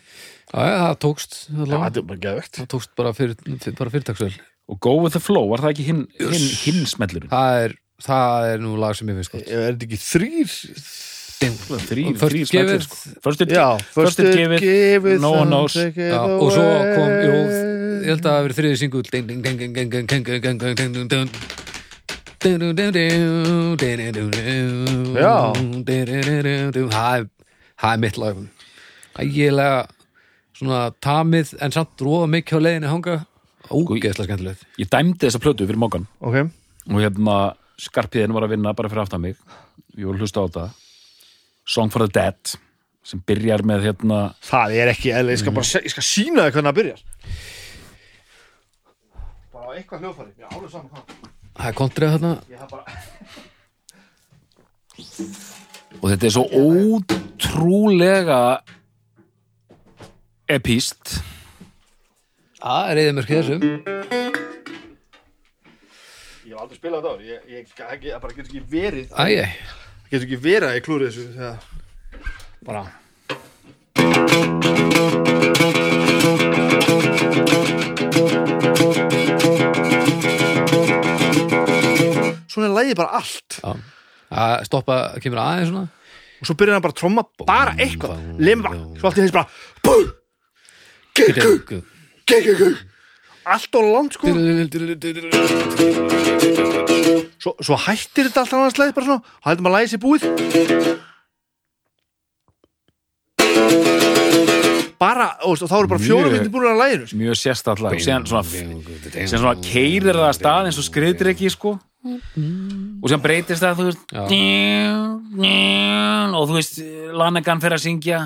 S1: Já, já, það tókst
S3: já,
S1: allavega.
S3: þetta er bara geðvegt
S1: Það tókst bara, fyrir, fyrir- bara fyrirtaksvel
S2: og Go With The Flow, var það ekki hinn hin, hin smellurinn?
S1: það er, það er nú lag sem ég finnst gott
S3: er þetta ekki þrýr
S2: þrýr,
S1: First
S2: þrýr
S1: Giveth.
S2: smellir sko. First It-
S3: já,
S2: First It Give It, No One
S3: and
S2: Knows.
S3: Take It
S1: Já, og svo kom, jú,
S3: Away.
S1: ég held að það hafi verið þriðið singull Ding, ding, ding, ding, ding, ding, ding, ding, ding, ding, ding. Dun, dun, dun, dun, dun, dun, dun, dun.
S3: Já.
S1: Dun, dun, dun, dun, dun. Það er- það er mitt lag ægilega svona tamið en samt roða mikið á leiðinu hanga ógeðslega skemmtilegt
S2: ég dæmdi þessa plötu fyrir mókan
S3: ok
S2: og hérna skarpiðin var að vinna bara fyrir aftan mig ég var að hlusta á þetta Song for the Dead sem byrjar með hérna
S3: Það er ekki, eða ég skal bara se- ég skal sína þið hvernig það byrjar Bara á eitthvað hljófari Mér er alveg saman hvað
S1: það er kontrið þarna
S3: Ég hef bara
S2: og þetta er svo ótrúlega epíst
S1: það er eða mörkið þessum
S3: Ég hef aldrei spilað þetta áður Ég, ég, ég, ég, ég bara getur ekki verið
S1: ægjæ
S3: Getur ekki verið að ég klúri þessu þegar
S2: bara
S3: Svona er lagið bara allt
S1: að stoppa, kemur aðeins svona
S3: Og svo byrjar hann bara að tromma bara eitthvað Limba Svo allt í þess bara Búr Gekku
S1: Byrja-
S3: Gekku Allt og langt sko svo, svo hættir þetta alltaf annars leið bara svona og hættir maður að læði sér búið bara, og, og þá eru bara fjóra
S2: Mjög-
S3: myndir búin að læðinu sko.
S2: mjög sérstallega og síðan svona, síðan svona keirir það að stað eins og skriðir ekki sko og síðan breytist það þú veist
S1: Já.
S2: og þú veist Lannegan fer að syngja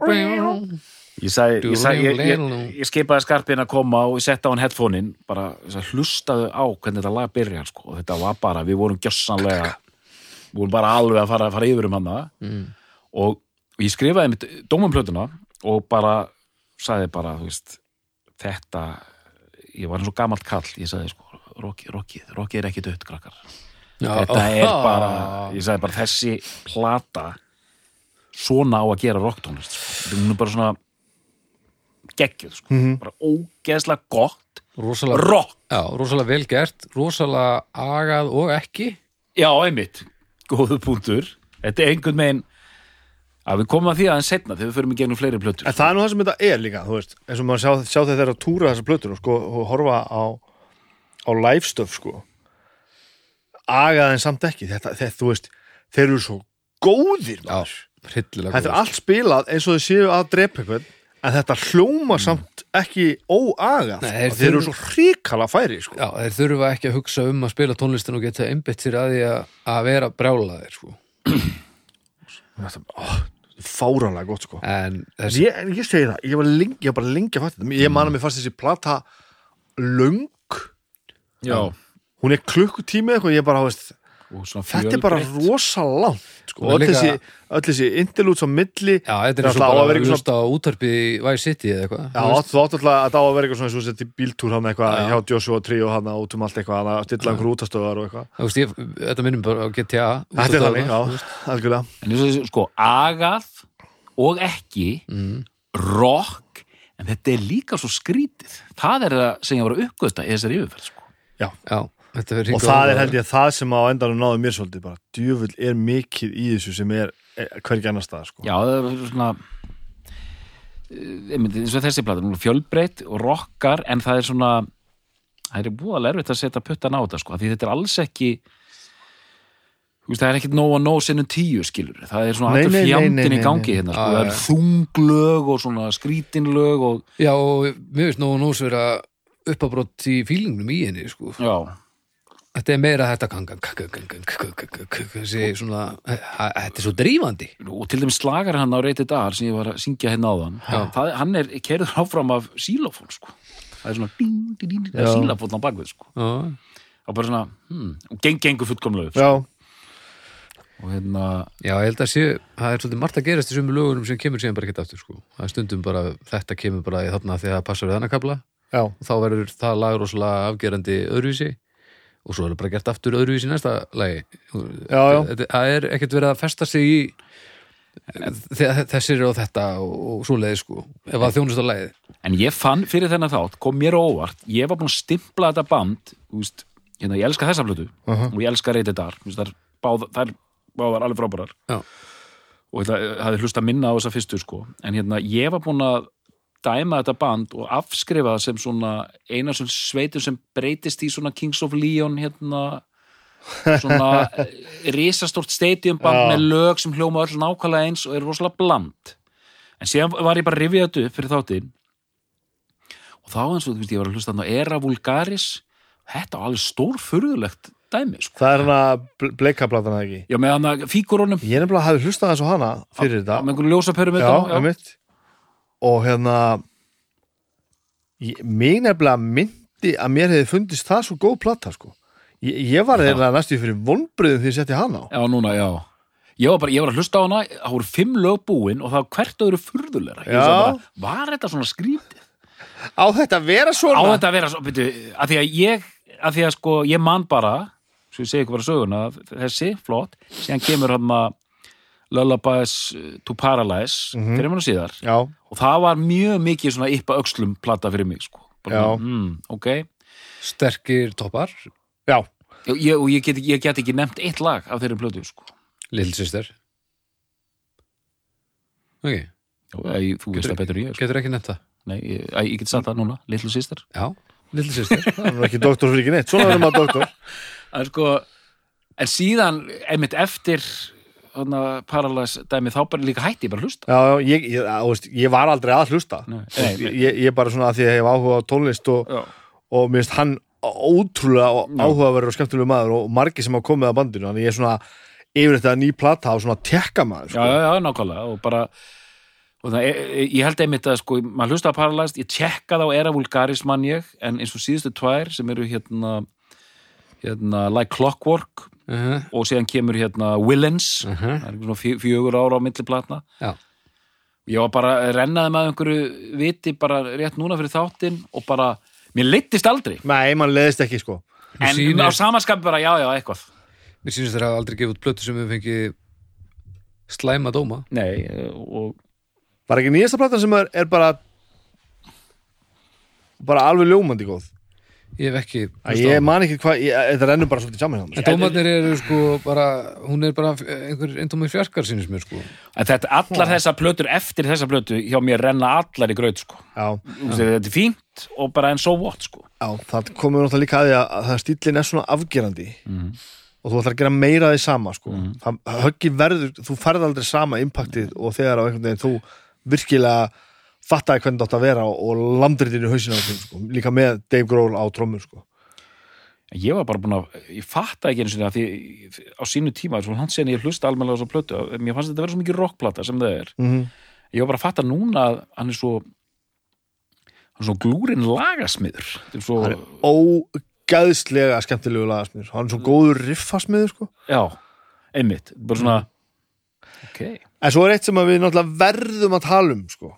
S2: ég, sag, ég, sag, ég, ég, ég skipaði skarpin að koma og ég setta á hann headphone-in bara sag, hlustaðu á hvernig þetta lag byrjar sko. og þetta var bara, við vorum gjössanlega við vorum bara alveg að fara, fara yfir um hann mm. og og ég skrifaði mitt dómum plötuna og bara, sagði bara þú veist, þetta ég var eins og gamalt kall, ég sagði sko Rocky, Rocky, Rocky er ekki dött, krakkar þetta er
S3: Ah.
S2: bara, ég sagði bara þessi plata svona á að gera rocktónlist sko. hún er bara svona geggjuð sko.
S3: Mhm.
S2: bara ógeðslega gott
S1: rosalega,
S2: rock,
S1: já, rosalega vel gert rosalega agað og ekki
S2: já einmitt góðu punktur, þetta er einhvern veginn að við komum að því aðeins setna þegar við förum í gegnum fleiri plötur
S3: En það er nú það sem þetta er líka, þú veist eins og maður sjá, sjá þegar þeirra túra þessar plötur sko, og horfa á, á live stuff sko agaði en samt ekki þetta, þetta, þú veist, þeir eru svo góðir
S1: já,
S3: maður.
S1: hryllilega
S3: Þetta er
S1: góð.
S3: allt spilað eins og þau séu að drepa einhvern en þetta hljóma samt ekki
S1: Mm.
S3: óagað
S1: Nei, þeir
S3: og þeir eru
S1: þurfa-
S3: svo hrikala færi sko.
S1: já, þeir þurfa ekki að hugsa um að spila tónlistin og geta einbytt sér að því að- að vera brjálaðir sko.
S3: Þetta- ó, fáránlega gott sko.
S1: en þessi
S3: ég, en ég segi það, ég var, lengi, ég var bara lengi að fatta þetta ég man að mér fannst þessi plata löng,
S2: já,
S3: hún er klukkutími eða eitthvað, ég bara, þú veist,
S2: og svona
S3: þetta er bara
S2: fjölbreytt.
S3: rosa langt sko.
S1: Og
S3: og öll
S1: líka-
S3: þessi, öll þessi indilúts á milli
S1: Já, þetta er
S3: Það
S1: eins og
S3: ætla á að
S1: bara
S3: vera
S1: að
S3: eitthvað
S1: hlusta á útarpi í Vice City eða eitthvað
S3: Já,
S1: Þú veist,
S3: þú átt alltaf að þetta á að vera eitthvað svona eins og þessi bíltúr hann eitthvað
S1: Já.
S3: hjá Joshua 3 og hann út um allt eitthvað, hann að stilla einhver útastöðar og eitthvað.
S1: þú veist, ég, þetta minnum bara á GTA
S3: Þetta er
S1: útvarpið
S3: þannig,
S1: þarna.
S3: já, algjörlega.
S2: en eins og þessi, sko, agað og ekki Mm. rock, en þetta er líka svo skrítið, það er það sem ég var að uppgöta í þessari yfirferð, sko
S1: Já, þetta verður
S3: Og það er held ég það sem á endanum náðu mér svolítið bara, djöfull er mikið í þessu sem er eh, hvergi annar stað, sko.
S2: Já, það er svona eh, einmitt, eins og þessi plata, hún er fjölbreytt og rockar, en það er svona það er búðalega erfitt að setja puttan á þetta sko, af því þetta er alls ekki þú veist, það er ekkit nóg að nóg sinnum tíu skilur, það er svona
S3: Nei,
S2: allur
S3: nei, nei, nei,
S2: fjandinn í
S3: nei,
S2: gangi
S3: nei.
S2: hérna,
S1: Já,
S2: sko, það
S1: já.
S2: er þunglög og svona skrítinlög og
S1: Já, og mér veist nógu nóg vera uppabrótt í fílingnum í henni sko.
S2: já,
S1: Þetta er meira þetta kanga- kanga- kanga- kanga- kanga- kanga- þessi svona, hæ- hæ- þetta er svo dreifandi
S2: og til dæmis slagar hann á reytið dagar sem ég var að syngja hérna á þann það, hann er kerður áfram af sílófón sko, það er svona ding, ding, ding, það er sílófón á bakvið sko
S1: Já,
S2: og bara svona, hmm, og geng, gengur fullkomlega upp
S3: Já,
S2: og hérna,
S1: Já, ég held að sé, það er svolítið margt að gerast í sömu lögunum sem kemur síðan bara ekki aftur sko. Það er stundum bara, þetta kemur bara í þarna þegar það passar við þennan kapla
S3: já,
S1: og þá verður það lag rosalega afgerandi öðruvísi og svo er það bara gert aftur öðruvísi í næsta lagi
S3: já, já.
S1: Þetta- það er ekkert verið að festa sig í þe- þessir og þetta og, og svoleiði sko ef að þjónust að lagið
S2: en ég fann fyrir þennan þátt kom mér á óvart, ég var búinn að stimpla þetta band, þú veist, hérna ég elska þessa flötu og ég elska reytið dar þar báð, þær báðar alveg frábærar
S1: Já.
S2: og það hafði hlusta minna á þessa fyrstu sko, en hérna ég var búinn að dæma þetta band og afskrifa það sem svona eina svona sveitur sem breytist í svona Kings of Leon hérna svona eh, risastórt stadiumband
S3: Já.
S2: með lög sem hljóma öll nákvæmlega eins og er rosalega bland en síðan var ég bara að rifja þetta upp fyrir þáttinn og þá eins og þú veist ég var að hlusta hann á Era Vulgaris þetta var alveg stórfurðulegt dæmi sko.
S3: Það er hann að bleikablatana ekki.
S2: já með hann að fígurunum
S3: Ég nefnilega hafi hlustað eins og hana fyrir þetta.
S2: með einhverju ljósapörum
S3: já, einmitt og hérna ég, mig nefnilega myndi að mér hefði fundist það svo góð plata sko. ég, ég var þeirra næstu fyrir vonbröðum því ég setti hana á
S2: já núna já ég var, bara, ég var að hlusta á hana, það voru fimm lög búin og það var hvert öðru furðulegra Ég
S3: Já.
S2: hugsaði bara, var þetta svona skrítið
S3: á þetta að vera
S2: á
S3: svona
S2: þetta að vera svo, byrju, að því að ég að því að sko, ég man bara svo ég segi ykkur bara söguna, þessi, flott síðan kemur hann að Lullabies to Paralyze
S3: Mhm.
S2: mm -hmm. fyrir mann og síðar
S3: já,
S2: og það var mjög mikið svona yppa öxlum plata fyrir mig sko.
S3: Já.
S2: bara, mm, ok
S1: sterkir toppar,
S3: já,
S2: og ég, og ég, get, ég get ekki nefnt eitt lag af þeirri plötu sko.
S1: lillsýster ok,
S2: ég, þú veist það betur en ég sko.
S1: getur ekki nefnt það
S2: Nei, ég, æ, ég get sagt það núna, litlu sýstir
S1: já, lillsýster
S3: það er nú ekki doktor fyrir ekki neitt svona verðum að doktor
S2: en sko en síðan, einmitt eftir hana, Paralyze dæmi þá bara líka hætti ég bara að hlusta
S3: já, já, ég, ég, á, veist, ég var aldrei að hlusta
S2: Nei, nei,
S3: ég, ég, ég bara svona að því að ég hef áhuga á tónlist og,
S2: Já.
S3: og mér finnst hann ótrúlega áhugaverður og skemmtilegu maður og margir sem hafa komið að bandinu þannig ég er svona yfir þetta ný plata og svona tekka
S2: já,
S3: maður sko.
S2: já, já, nákvæmlega og bara og það, ég, ég held einmitt að sko, maður hlusta að Paralyzed, ég tjekka þá Era Vulgaris mann ég, en eins og síðustu tvær sem eru hérna, hérna Like Clockwork
S1: uh
S2: og síðan kemur hérna Willens
S1: Mhm.
S2: það er svona fjö- fjögur ára á milli platna
S1: Já.
S2: ég var bara að rennaði með einhverju viti bara rétt núna fyrir þáttinn og bara, mér leittist aldrei
S3: Nei, mann leðist ekki sko
S2: en
S1: sýnir-
S2: á samanskapi bara, já, já, eitthvað
S1: mér sýnist þér að hafa aldrei gefið út plötu sem við fengið slæma dóma
S2: nei, eh, og
S3: Var ekki nýjasta platan sem er, er bara bara alveg ljómandi góð
S1: ég hef ekki
S3: að ég man ekki hvað, ég- þetta rennur bara svolítið saman hjá
S1: En dómarnir eru sko bara, hún er bara einhver eindómið fjarkar sínist mér sko.
S2: En þetta, allar þessar plötur eftir þessa plötu hjá mér renna allar í graut sko.
S3: mér já,
S2: Þú veist, Þetta er fínt og bara en so what sko.
S3: já, það komum við náttúrulega líka að því að, að það stíllinn er svona afgerandi og þú ætlar að gera meira af því sama sko. það höggi verður, þú færð aldrei sama impaktið og þegar á einhvern veginn þú virkilega fattaði hvernig þú átt að vera og, og landur þínu hausinu á þeim sko. líka með Dave Grohl á trommur sko.
S2: En Ég var bara búin að, ég fatta ekki eins og það því á sínu tíma, svo hann segir ég hlusta almennilega á svo plötu, mér fannst þetta vera svo mikið rockplata sem það er.
S3: mm
S2: Ég var bara að fatta núna að hann er svo hann er svo glúrin lagasmiður. Þetta er Svo,
S3: hann er ógæðslega skemmtilegu lagasmiður hann er svo góður riffasmiður sko.
S2: Já, einmitt, bara svona ok,
S3: en svo er eitt sem að við náttúrulega verðum að tala um sko.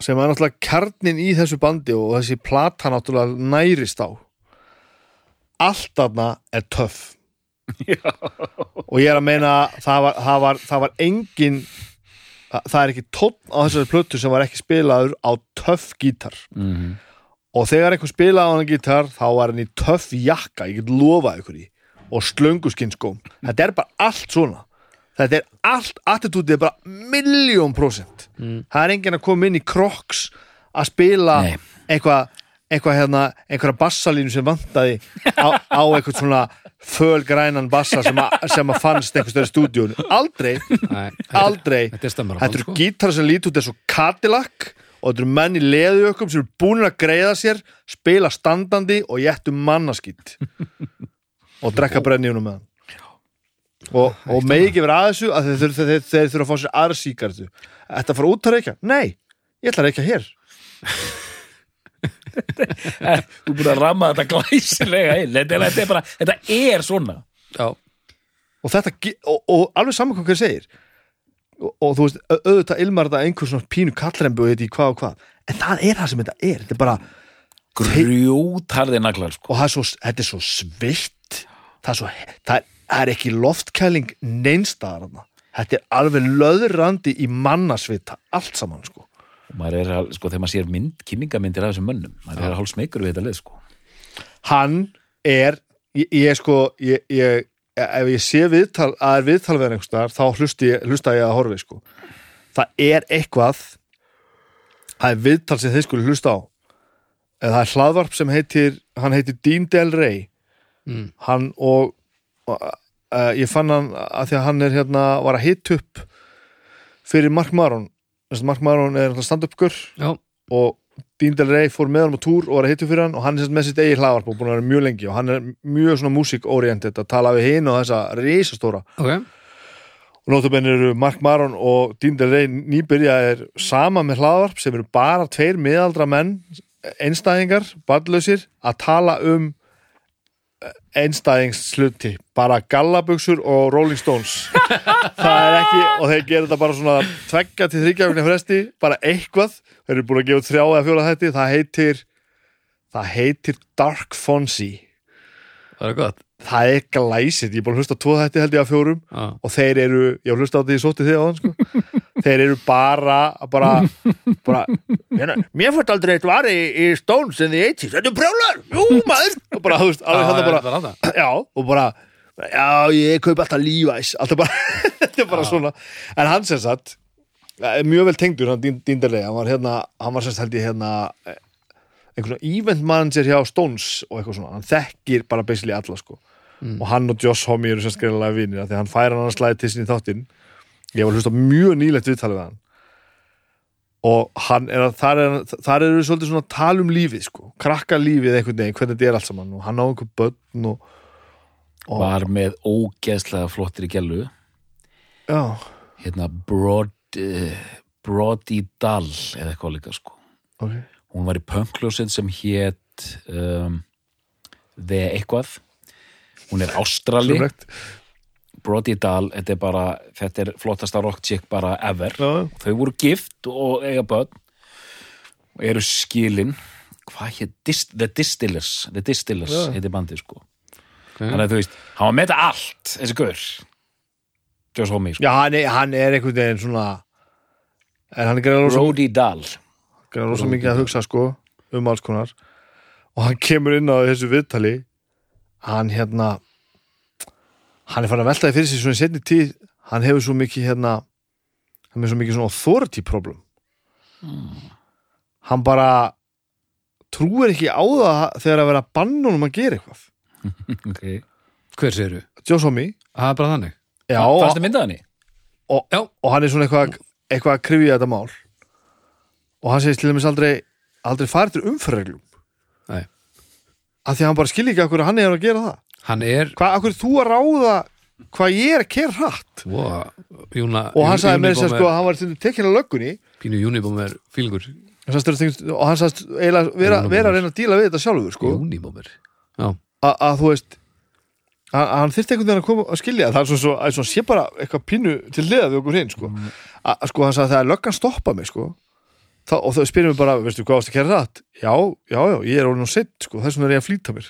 S3: sem er náttúrulega kjarnin í þessu bandi og þessi plata náttúrulega nærist á allt þarna er töff og ég er að meina það var, það var, það var engin það, það er ekki tónn á þessari plötu sem var ekki spilaður á töff gítar
S2: Mhm.
S3: og þegar einhver spilaði á hann gítar þá var hann í töff jakka, ég get lofað ykkur í og slönguskinskóm þetta er bara allt svona þetta er allt, attitútið er bara miljón prosent, það er enginn að koma inn í kroks að spila
S2: Mm. Nei.
S3: eitthvað eitthvað hérna, einhverja bassalínu sem vantaði á, á eitthvað svona fölgrænan bassa sem, a, sem að fannst einhvers stöður stúdíun aldrei,
S1: Nei, þetta-
S3: aldrei
S1: Þetta er sko. stammar
S3: Þetta eru gítar sem lít út eins og Cadillac og þetta eru menn í leðuökum sem eru búin að greiða sér, spila standandi og jættu mannaskýtt og drekka brenniðunum með hann og, og megi ekki vera að þessu að þeir, þeir, þeir, þeir þurfa að fá sér aðra síkartu Þetta fara út að reykja? Nei, ég ætla að reykja hér
S2: þú er búin að ramma þetta glæsilega inn, þetta er, þetta er bara þetta er svona
S1: Já,
S3: og, þetta, ge- og, og alveg saman hvað hver segir og, og þú veist, au- auðvitað ilmar þetta einhver svona pínu kallrembu og þetta í hvað og hvað en það er það sem þetta er, þetta er bara
S2: grjótarði naglar sko.
S3: og það er svo, þetta er svo svitt það er, svo, það er, það er ekki loftkæling neinstaðarna þetta er alveg löðrandi í mannasvita allt saman sko
S2: og maður er, að- sko, þegar maður sér mynd, kynningamyndir af þessum mönnum, maður er hálf smeykur við þetta lið sko.
S3: hann er ég, ég sko ég, ég, ef ég sé viðtal að er viðtal við hann einhvers staðar, þá hlusti, ég- hlusta ég að horfi sko það er eitthvað það er viðtal sem þeir skulu hlusta á en það er hlaðvarp sem heitir hann heitir Dean Del Rey
S1: Mm.
S3: hann og uh, ég fann hann að því að hann er hérna var að hita upp fyrir Mark Maron Þessi Mark Maron er stand-up-gur
S1: já,
S3: og Dean Del Rey fór með hann á túr og var að hittu fyrir hann og hann er sem sagt með sitt eigi hlaðvarp og búin að vera mjög lengi og hann er mjög svona músikorientet að tala við hinn og þessa risastóra
S1: ok
S3: og nótabenn eru Mark Maron og Dean Del Rey nýbyrjaðir sama með hlaðvarp sem eru bara tveir miðaldra menn einstæðingar, badlausir að tala um einstæðingsluti bara gallabuxur og Rolling Stones það er ekki og þeir gera þetta bara svona tveggja til þryggja vegna fresti, bara eitthvað þeir eru búin að gefa út þrjá eða fjóla þætti það heitir, það heitir Dark Fonsi
S1: Það er gott
S3: það er glæsit, ég er búin að hlusta á tvo þætti held ég að fjórum
S1: Já,
S3: og þeir eru, ég hlusta á því ég sótti þig á sko. þeir eru bara bara, bara hérna, mér fætt aldrei eitt vari í Stones in the 80s, þetta er brjólar jú maður, og bara, þú veist, alveg
S1: það
S3: þetta
S1: er
S3: bara
S1: bara það
S3: já, og bara já, ég kaup alltaf Levi's alltaf bara, þetta er bara svona en hann sem sagt, er mjög vel tengdur hann dýndarlega, hann var hérna hann var sem sagt held ég hérna eh, einhvern svona event manager hjá Stones og eitthvað svona, hann þekkir bara basically alla sko og hann og Josh Homme eru sem skrifalega vinir af því að hann færa hann að slæði til sinni í þáttinn ég var að hlusta á mjög nýlegt viðtalið við hann og hann er að þar, er, þar eru svolítið svona að tala um lífið sko, krakka lífið einhvern veginn hvernig þetta er allt saman og hann á einhver börn og Og-
S2: var með ógeðslega flottir í gælu
S3: já,
S2: hérna Broad uh, Brody Dahl eða eitthvað líka sko
S3: ok
S2: hún var í pöngljósin sem hét um, The eitthvað hún er ástrali
S3: Sjálfrekt.
S2: Brody Dahl, þetta er bara þetta er flottasta rock chick bara ever
S3: Já, já.
S2: þau voru gift og eiga börn og eru skilin hvað hér, Dis The Distillers The Distillers
S3: Já.
S2: heitir bandið sko
S1: okay.
S2: þannig að þú veist, hann var með þetta allt þessi gaur Josh Homme, sko.
S3: já, hann er, hann er einhvern veginn svona en hann er greið rosa,
S2: Brody Dahl
S3: greið rosa mikið að hugsa sko um alls konar og hann kemur inn á þessu viðtali hann hérna hann er farin að velta því fyrir sig svona í setni tíð hann hefur svo mikið hérna hann er svo mikið svona authority problem hann bara trúir ekki á það þegar að vera að banna honum að gera eitthvað
S2: ok
S1: Hver segir þú?
S3: Jósomi
S1: Það er bara þannig
S3: Já,
S2: fannst þið myndað henni?
S1: Já.
S3: og hann er svona eitthvað, eitthvað að krifja þetta mál og hann segist til dæmis aldrei aldrei farið til umferðarreglum
S1: Nei.
S3: af því að hann bara skilja ekki akkur hann er að gera það
S1: Hann er
S3: hvað, akkur þú að ráða hvað ég er að kera hratt
S1: Vó, sko, Júna,
S3: og hann sagði með þess að sko að hann var stundum tekinn að löggunni
S1: Pínu Júnibóm er fílingur
S3: og hann sagðist og hann sagðist eiginlega vera,
S1: Júnibómer.
S3: vera að reyna að díla við þetta sjálfur sko
S1: Júnibóm er Já,
S3: að að þú veist að, að hann þyrfti einhvern veginn að koma að skilja það er svo, svo, að, svo sé bara eitthvað pínu til liða við okkur hinn sko. Að- að sko hann sagði þegar löggan stoppa mig sko þá, og þau spyrir mig bara, veistu hvað ástu að kæra rætt já, já, já, ég er orðin á sitt sko þess vegna er ég að flýta mér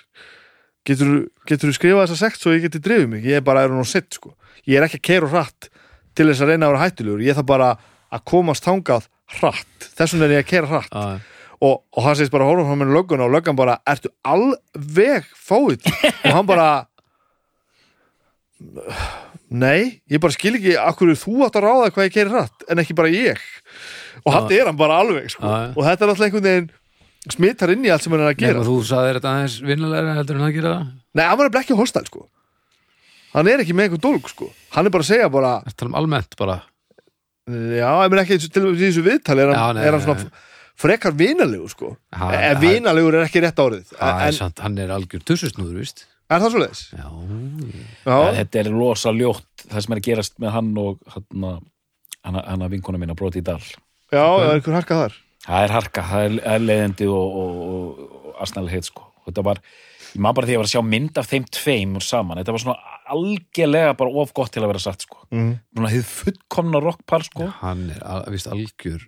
S3: getur, getur þú skrifað þessa sekt svo ég geti drifið mig ég er bara orðin á sitt sko ég er ekki að kæra rætt til þess að reyna að vera hættulegur ég þarf bara að komast þangað hratt, þess vegna er ég að kæra rætt
S1: að,
S3: og, og hann segist bara horfum hann með lögguna og löggan bara, ertu alveg fáið og hann bara nei, ég bara skil ekki akkur þú átt að ráða hvað ég gerir rætt en ekki bara ég og hann er hann bara alveg sko.
S1: Já, já.
S3: og þetta er alltaf einhvern veginn smittar inn í allt sem hann er að
S1: Nei,
S3: gera
S1: og þú sagði þetta aðeins vinnulega heldur en að gera það
S3: nei, hann var nefnilega ekki hóstal sko. hann er ekki með einhvern dólg sko. hann er bara að segja bara
S1: Það tala um almennt bara
S3: já, ég menn ekki eins og- til dæmis í þessu viðtali er hann,
S1: Já, nei,
S3: er
S1: nei,
S3: hann svona frekar vinalegur sko.
S1: Ha-
S3: en vinalegur er ekki rétt árið
S1: Það er
S3: en,
S1: samt, hann er algjör tussusnúður, víst
S3: er það svoleiðis?
S1: Já,
S2: Já,
S3: Já,
S2: þetta er losa ljótt það sem er að gerast með hann og hann að- hann að- hann að vinkona minna broti í dal
S3: já, það er einhver harka þar
S2: það er harka, það er, það er leiðindi og, og, og, og asnæli heit sko Og þetta var, ég maður bara því að ég var að sjá mynd af þeim tveimur saman, þetta var svona algjörlega bara of gott til að vera satt sko
S3: mm.
S2: svona hefði fullkomna rockpar sko
S1: hann er al, víst algjör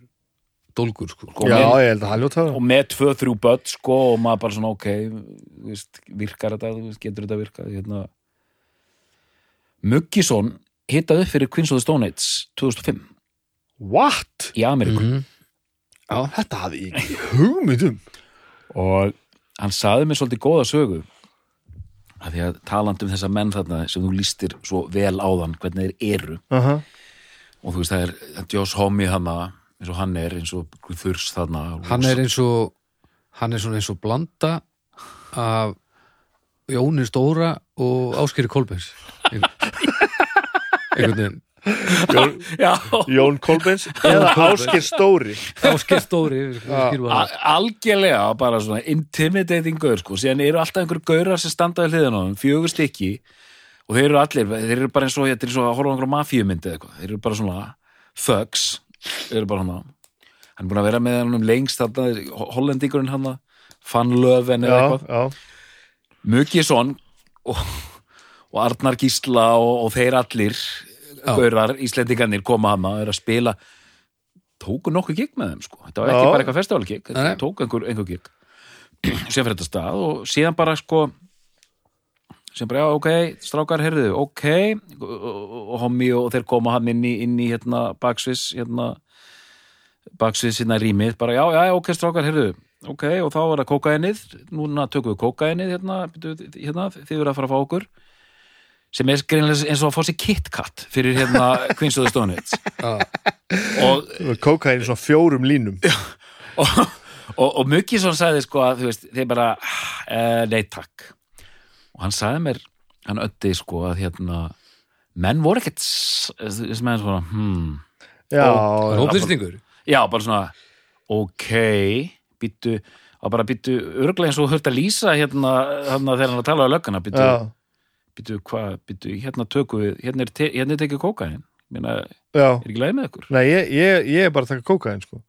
S1: dólgur, sko
S2: og,
S3: Já,
S2: með,
S3: ég held að hann ljóta það
S2: og með tvö, þrjú börn sko og maður bara svona ok þú veist, virkar þetta, þú veist, getur þetta virkað hérna. Muggisson hittaði upp fyrir Queens of the Stone Age 2005
S3: What?
S2: í Ameríku
S1: Já.
S3: Þetta hafði ég ekki hugmynd um
S2: og hann saði mér svolítið góða sögu af því að talandi um þessa menn þarna sem þú lístir svo vel áðan hvernig þeir eru
S3: Aha.
S2: og þú veist það er það er Josh Homme þarna eins og hann er, eins og Þurs þarna
S1: Hann er eins og hann er svona eins og blanda af Jóni Stóra og Áskeri Kolbens einhvern veginn
S3: Jón,
S2: Já,
S3: Jón Kolbens eða
S1: Kolbeins.
S3: Ásker Stóri
S1: Áskeri Stóri
S3: Ah.
S1: skilur
S2: A-
S1: hann.
S2: algjörlega bara svona intimidating gaur sko, síðan eru alltaf einhver gaurar sem standa við hliðin á þeim, fjögur stykki og þeir eru allir, þeir eru bara eins og þetta er svo að horfa á einhverja mafíumyndi eða eitthvað, þeir eru bara svona thugs, þeir eru bara hana hann er búin að vera með hann um lengst þarna, ho- hollendingurinn hann fann löfin eða
S3: Já,
S2: eitthvað,
S3: já
S2: Muggisson og, og Arnar Gísla og, og þeir allir gaurar, Íslendingarnir koma hana og eru að spila tóku nokkuð gig með þeim sko, þetta var ekki
S3: Já.
S2: bara eitthvað festivalgig þetta
S1: Nei.
S2: tóku einhver, einhver gig sem fyrir þetta stað og síðan bara sko sem bara, já, ok, strákar, heyrðu, ok og, og, og homi og þeir koma hann inn í, inn í hérna, baksvis hérna, baksvis hérna rýmið, bara, já, já, ok, strákar, heyrðu ok, og þá er það kókainið núna tökum við kókainið hérna, byrju, hérna þið verða að fara að fá okkur sem er greinlega eins og að fá sér KitKat fyrir hérna Queen's of the Stone Age og
S3: Kókaðin í svona fjórum línum
S2: og, og, og Muggisson sagði sko að þú veist, þeir bara eh, nei takk og hann sagði mér, hann ötti sko að hérna, menn voru ekkert s- þessi menn svona hmm.
S3: Já,
S1: Það er
S3: já.
S1: hóplistingur
S2: já, bara svona ok, býttu og bara býttu örglega eins og þú hört að lýsa hérna, hérna þegar hann er að tala á lögguna býttu,
S3: já,
S2: býttu hvað, býttu hérna tökum við, hérna er, te, hérna er tekið kókaðin minna, er
S3: já
S2: ekki læg með ykkur
S3: Nei, ég, ég, ég er bara að taka kókaðin sko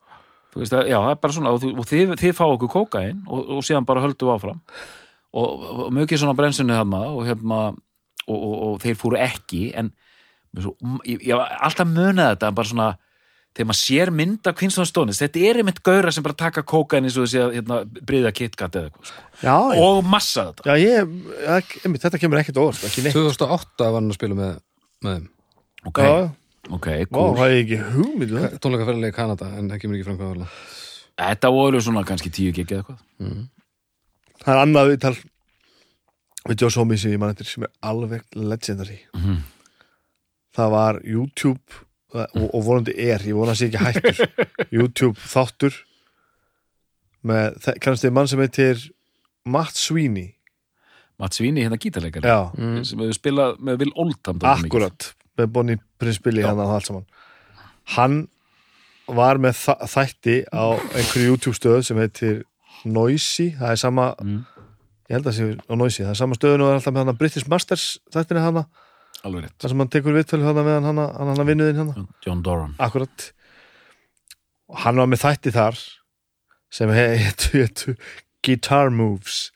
S2: þú veist að, já, það er bara svona og, þú- og þið, þið fá okkur kókain og, og síðan bara höldum við áfram og, og mjög svona brennsunni þarna og hérna og, og, og þeir fóru ekki en svo, ég, ég var alltaf munið þetta en bara svona þegar maður sér mynd af Queen's of the Stone Age, þetta er einmitt gauðra sem bara taka kókain eins og þessi að hérna, bryða KitKat eða eitthvað sko.
S3: Já, já,
S2: og massa þetta
S3: já ég, ég, einmitt, þetta kemur ekkert á óvart ekki neitt
S1: 2008 var hann að spila með, með þeim.
S2: ok,
S3: Já, já,
S2: ok,
S3: Vá,
S2: cool
S3: það er ekki hugmynd um þetta.
S1: tónleikaferðarlega í Kanada en það kemur ekki fram hvað var það
S2: Þetta voru svona kannski tíu gig eða eitthvað
S3: Það er annað viðtal við Josh Homme sem ég man eftir sem er alveg legendary Það var YouTube það- og, og vonandi er, ég vona að sé ekki hættur YouTube þáttur með, þe- kannast þið mann sem heitir Matt Sweeney
S2: Matt Svíni hérna gítarleikar
S3: Já,
S2: sem hefur spilað með Will Oldham dálítið mikið.
S3: akkurat með Bonnie Prince Billy hann og allt saman Hann var með þa- þætti á einhverju YouTube stöð sem heitir Noisy, það er sama
S2: Mm.
S3: ég held að sé á Noisy, það er sama stöðun og er alltaf með hana British Masters þættinni hana
S2: Alveg rétt
S3: þar sem hann tekur viðtölu hana með hann hana, hann hana vinnuðin hana,
S2: John Doran
S3: akkurat og hann var með þætti þar sem he- heitu, heitu Guitar Moves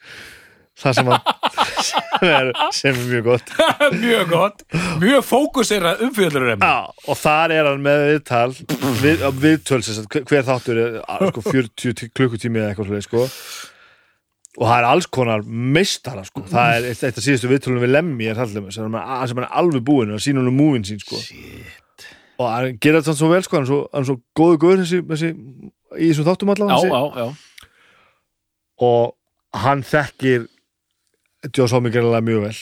S3: þar sem hann sem er, sem er mjög gott
S2: Mjög gott, mjög fókuserað umfjöllur
S3: Já, og þar er hann með viðtal við, viðtöl, sem sagt, hver- hver þáttur er að, sko, 40 tí- klukkutími eða eitthvað svolítið, sko og það er alls konar meistara, sko það er eitt, eitt af síðustu viðtölunum við Lemmi er hallum, sem hann sem hann er alveg búinn að sína hann um múin sín, sko Shit. og hann gerir þetta svo vel, sko hann er svo, hann er svo góðu góður þessi, þessi í þessum
S2: Já,
S3: þáttum allavega
S2: já, já
S3: og hann þekkir Joss Homme gerðilega mjög vel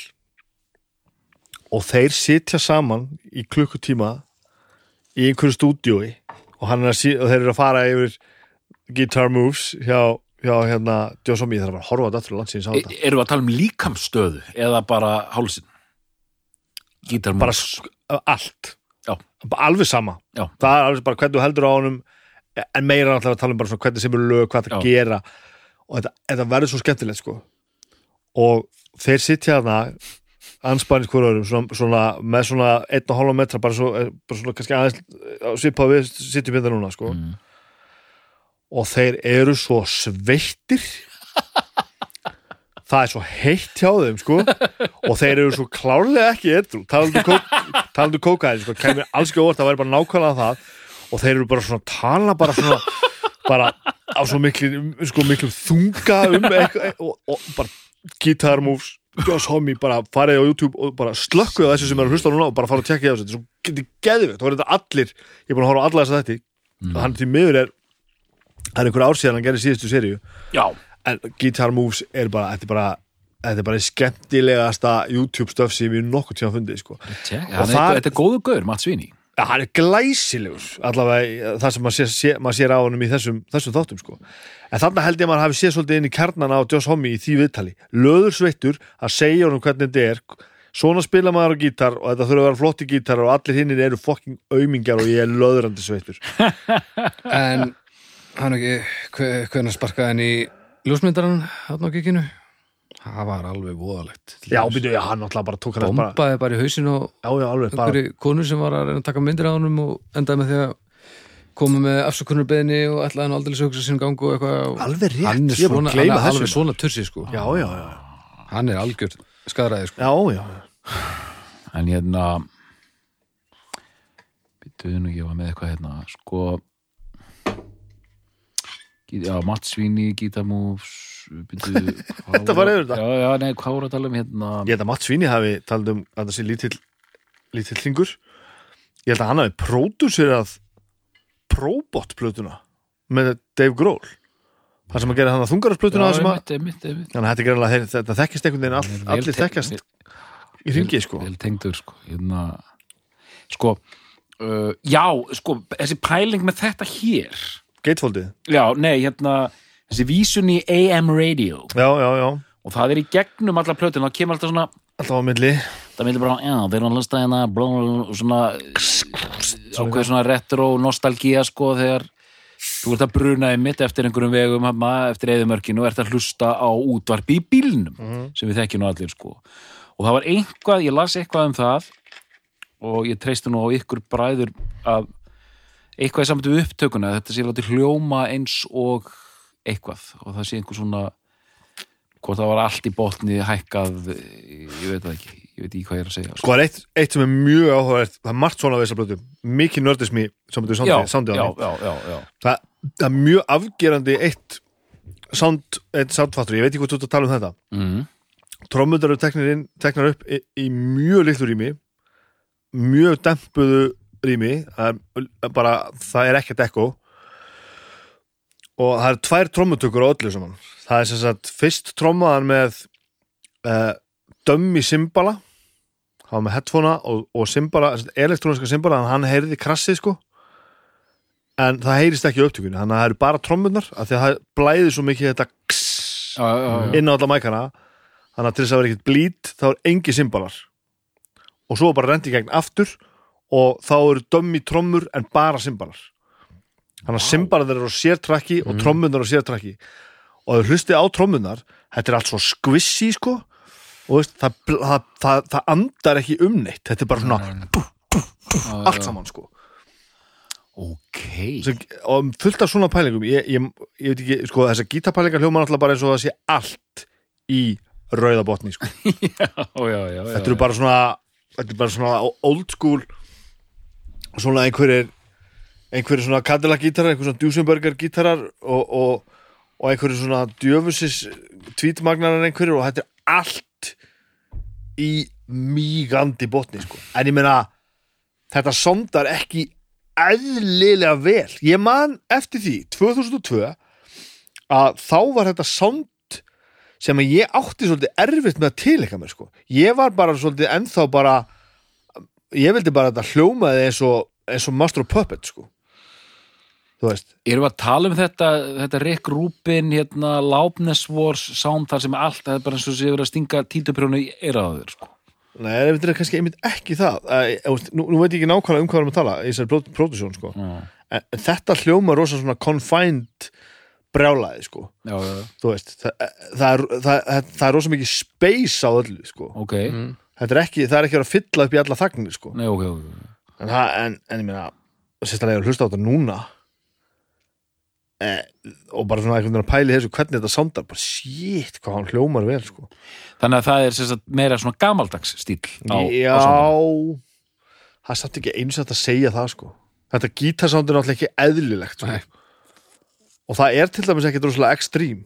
S3: og þeir sitja saman í klukkutíma í einhverju stúdíói og, hann er að sí- og þeir eru að fara yfir guitar moves hjá, hjá hérna Joss Homme, ég þarf að fara að horfa á þetta aftur á landsins á
S2: E
S3: þetta
S2: Erum við að tala um líkamstöðu eða bara hálsin Gítarmús
S3: bara sk- allt
S2: Já.
S3: Bara alveg sama
S2: Já.
S3: það er alveg bara hvernig þú heldur á honum en meira náttúrulega að tala um bara svona hvernig sem eru lög hvað það
S2: Já.
S3: gera og þetta, þetta verður svo skemmtilegt sko og þeir sitja þarna anspænir hverju öðrum svona, svona, með svona einn og hálfa metra bara, svo, eh, bara svona kannski aðeins svipa við sitjum við það núna sko
S2: Mm.
S3: og þeir eru svo sveittir það er svo heitt hjá þeim sko og þeir eru svo klárlega ekki edru talandu, kók, talandu kókaði sko, kemur alls ekki á óvart, það væri bara nákvæmlega það og þeir eru bara svona að tala bara svona bara á svo miklu sko, miklu þunga um eitthvað og, og bara guitar moves Joss Homme bara farið á YouTube og bara slökkuð á þessu sem er að hlusta núna og bara farið að tjekka þessu þetta er svo getið geðvikt, það voru þetta allir ég er búin að horfa á alla þess að þetta og hann til miður er það er einhver ár síðan hann gerir síðustu seríu
S2: Já,
S3: en Guitar Moves er bara þetta er bara, þetta er bara skemmtilegasta YouTube stöf sem ég nokkuð tíma fundið sko.
S2: tjekk,
S3: Og
S2: hann er-
S3: það-
S2: þetta er góðu gaur, Matt Svíni
S3: Ja, hann er glæsilegur allavega í- það sem maður sér, sé, maður sér á honum í þessum, þessum þáttum sko. en þarna held ég að maður hafi séð svolítið inn í kjarnan á Joss Homme í því viðtali löður sveittur að segja honum hvernig þetta er svona spila maður á gítar og þetta þurfa að vera flotti gítar og allir hinnir eru fokking aumingjar og ég er löðurandi sveittur
S1: en hann ekki hve- hvenær sparkaði hann í ljósmyndaran hann á kikinu það var alveg voðalegt
S3: já, býtu, já, hann náttúrulega bara tók hann bara,
S1: bombaði bara í hausinn og
S3: já, já, alveg, bara,
S1: einhverju konu sem var að reyna að taka myndir á honum og endaði með því að koma með afsökunarbeðni og ætlaði hann aldrei sögsa sínum gangu og eitthvað og
S3: Alveg rétt,
S1: hann er
S3: ég er
S1: svona,
S3: búin að
S1: hann
S3: gleyma
S1: er
S3: þessu.
S1: alveg svona tursi sko
S3: já, já, já
S1: hann er algjör skadræði sko
S3: Já, já,
S2: En hérna Býtuðu nú ekki, ég var með eitthvað hérna Sko Gí- Já, Matt Svíni, gítarmús Býtuðu
S3: Þetta var yfir þetta.
S2: Já, já, nei, hvað voru að tala um hérna
S3: ég held að Matt Svíni hafi talað um að það sé lítill lítill hringur ég held að hann hafi pródúserað Probot-plötuna með Dave Grohl það sem að gera hann að þungarasplötuna
S2: Já,
S3: sem um að,
S2: einmitt, einmitt, einmitt
S3: þannig að þetta er greinlega þeir- þetta þekkist einhvern veginn all,
S2: Hann er vel
S3: allir
S2: te-
S3: þekkjast
S2: vel-
S3: í hringi sko
S2: vel tengdur sko, hérna, sko uh, já, sko, þessi pæling með þetta hér
S3: Gatefoldið,
S2: já, nei, hérna þessi vísun í AM radio
S3: já, já, já
S2: og það er í gegnum alla plötin þá kemur alltaf svona,
S3: alltaf á milli,
S2: það myndir bara, já, þeir eru að hlusta hérna blá, og svona ákveð svona retro nostalgía sko þegar þú ert að bruna í mitt eftir einhverjum vegum hama, eftir eðumörkinu og ert að hlusta á útvarpi í bílnum sem við þekkjum nú allir sko og það var einhvað, ég las eitthvað um það og ég treysti nú á ykkur bræður að eitthvað er samt við upptökuna, þetta sé látið hljóma eins og eitthvað og það sé einhver svona hvort það var allt í botni hækkað ég veit það ekki, ég veit ekki hvað ég er að segja
S3: sko það er eitt, eitt sem er mjög áhugavert það er margt svona við þessar plötu, mikið nördismi sem
S2: já,
S3: þú sándið, sándið á
S2: já,
S3: því.
S2: já, já, já.
S3: það, það er mjög afgerandi eitt sound, eitt soundfattur, ég veit ekki hvað þú ert að tala um þetta
S2: Mm.
S3: trommundar eru teknar, inn, teknar upp í, í mjög litlu rými mjög dempuðu rými það er, bara, það er ekkert ekko og það er tvær trommutökur á öllu saman það er sem sagt fyrst trommaðan með uh, dömmi simbala hann var með headphonea og, og simbala elektróniska simbala, en hann heyrði krassið sko en það heyrist ekki í upptökunni þannig að það eru bara trommunar af því að það blæði svo mikið þetta kss,
S2: já, já, já.
S3: inn á alla mækana þannig að til þess að vera ekkert blít þá er engi simbalar og svo er bara rendi gegn aftur og þá eru dömmi trommur en bara simbalar þannig að simbalar eru á sértrakki og trommunar eru á sértrakki og þau hlustið á trommunar þetta er allt svo skvissi sko og veist, það, bl- það, það, það andar ekki um neitt þetta er bara svona bú, bú, bú, allt saman sko
S2: ok
S3: sem, og fullt af svona pælingum ég, ég, ég veit ekki, sko þessar gítapælingar hljóma náttúrulega bara eins og það sé allt í rauðabotni, sko
S2: Ó, já, já, já,
S3: þetta eru
S2: já.
S3: bara svona, þetta eru bara svona old school svona einhverjir einhverjir svona Cadillac gítarar, einhverjir svona Duesenberger gítarar og, og, og einhverjir svona djöfusis tvítmagnarar einhverjir og þetta er allt í mýgandi botni sko. en ég meina þetta sondar ekki eðlilega vel ég man eftir því 2002 að þá var þetta sond sem að ég átti svolítið erfitt með að tilika mér sko. ég var bara svolítið ennþá bara ég vildi bara að þetta hljómaði eins og, eins og Master of Puppet sko. þú veist
S2: Erum við að tala um þetta, þetta Rick Rubin, hérna, Loudness Wars sound þar sem allt, það er bara eins og sé verið að stinga títuprjónu í eiraðaður, sko.
S3: Nei, það myndir kannski einmitt ekki það Æ, þú veist, nú, nú veit ég ekki nákvæmlega um hvað við erum að tala í þessari pródusjón sko.
S2: Já,
S3: en en þetta hljóma rosa svona confined brjálaði sko
S2: já, já,
S3: þú veist, það, það, er, það, það, það er rosa mikið space á öllu sko
S2: ok.
S3: þetta er ekki, það er ekki að vera að fylla upp í alla þagnir sko en,
S2: Nei, ok, ok.
S3: það, en, en ég meina, sérstælega að hlusta á þetta núna e, og bara svona einhvern veginn að pæli þessu hvernig þetta soundar, bara shit hvað hann hljómar vel sko
S2: Þannig að það er sem sagt, meira svona gamaldags stíl á,
S3: já,
S2: á soundinu.
S3: það er samt ekki eins að segja það sko þetta gítarsound er náttúrulega ekki eðlilegt sko.
S1: Nei.
S3: og það er til dæmis ekki droslega ekstrím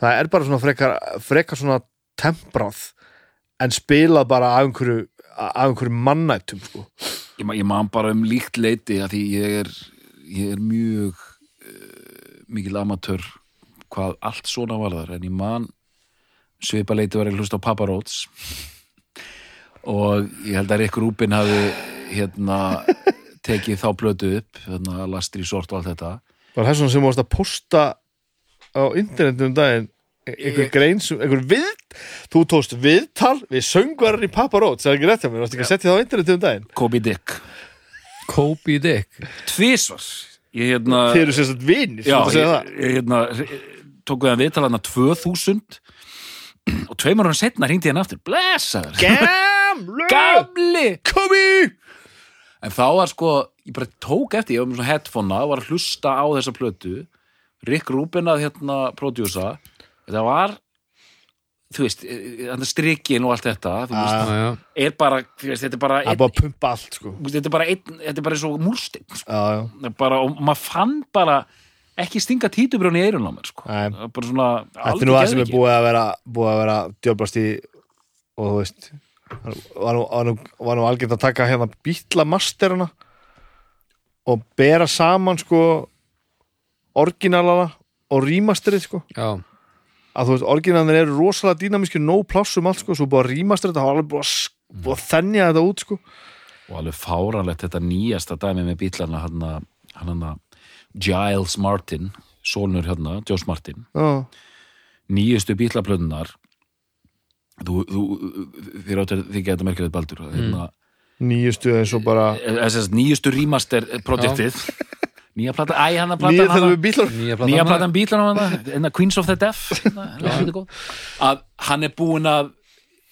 S3: það er bara svona frekar, frekar svona temprað en spila bara af einhverju, af einhverju mannættum sko.
S2: Ég, ma- ég man bara um líkt leiti að því ég er, ég er mjög uh, mikil amatör hvað allt svona varðar en ég man svipa leiti var ég að hlusta á Papa Roach og ég held að Rick Rubin hafi hérna tekið þá blötu upp hérna lastri sort og allt þetta
S3: var það svona sem varst að posta á internetinu um daginn einhver grein, sem- einhver við þú tókst viðtal við söngvarar í Papa Roach, það er ekki rétt hjá mér, varst ekki að setja það á internetinu um daginn
S2: Kobe Dick
S1: Kobe Dick
S2: Tvísvars ég hérna
S3: Þið eru sérstætt vinir,
S2: já,
S3: svona að
S2: ég,
S3: segja það
S2: ég, hérna tók við hann viðtal hann 2000 og tveimur hann setna hringdi ég hann aftur blessaður
S3: Gamlu
S2: gamli
S3: Komi
S2: en þá var sko, ég bara tók eftir ég var með svona headphonea, var að hlusta á þessa plötu Rick Rubin að hérna prodjúsa, þetta var þú veist, eh, þannig strikin og allt þetta, þú veist,
S1: Já, já.
S3: Ah.
S2: er bara þú veist, þetta er bara,
S3: Það er
S2: einn,
S3: bara að pumpa allt sko
S2: þetta er bara einn, þetta er bara svo múlstinn, sko.
S3: Já, já
S2: Það er bara, og maður fann bara ekki stinga títubrjónu í eirun á mér, sko
S3: Nei.
S2: Það var bara svona,
S3: Þetta er nú það sem er
S2: geðveiki.
S3: búið að vera búið að vera djöflast í og þú veist var nú, var nú, var nú algjörn að taka hérna bítlamasтерina og bera saman sko orginalana og remasterið sko
S1: já,
S3: að þú veist, orginalanir eru rosalega dýnamíski no plássum allt sko, svo búið að remasterið það var alveg búið að, sk- búið að þennja þetta út sko
S2: og alveg fáranlegt þetta nýjasta dæmi með bílana hann hann Giles Martin sonur hérna, Joss Martin
S3: Já,
S2: nýjustu bílaplöðunar þú, þú þér áttu þið geta merkilegt baldur hérna,
S3: nýjustu eins og bara
S2: þess að nýjustu remaster projektið nýja plata, æ hann að plata
S3: Nýja þegar við bítlar
S1: nýja platan
S2: nýja
S1: hann.
S2: platan bílana hann hérna Queens of the Deaf hérna, hérna, hérna, góð. að hann er búin að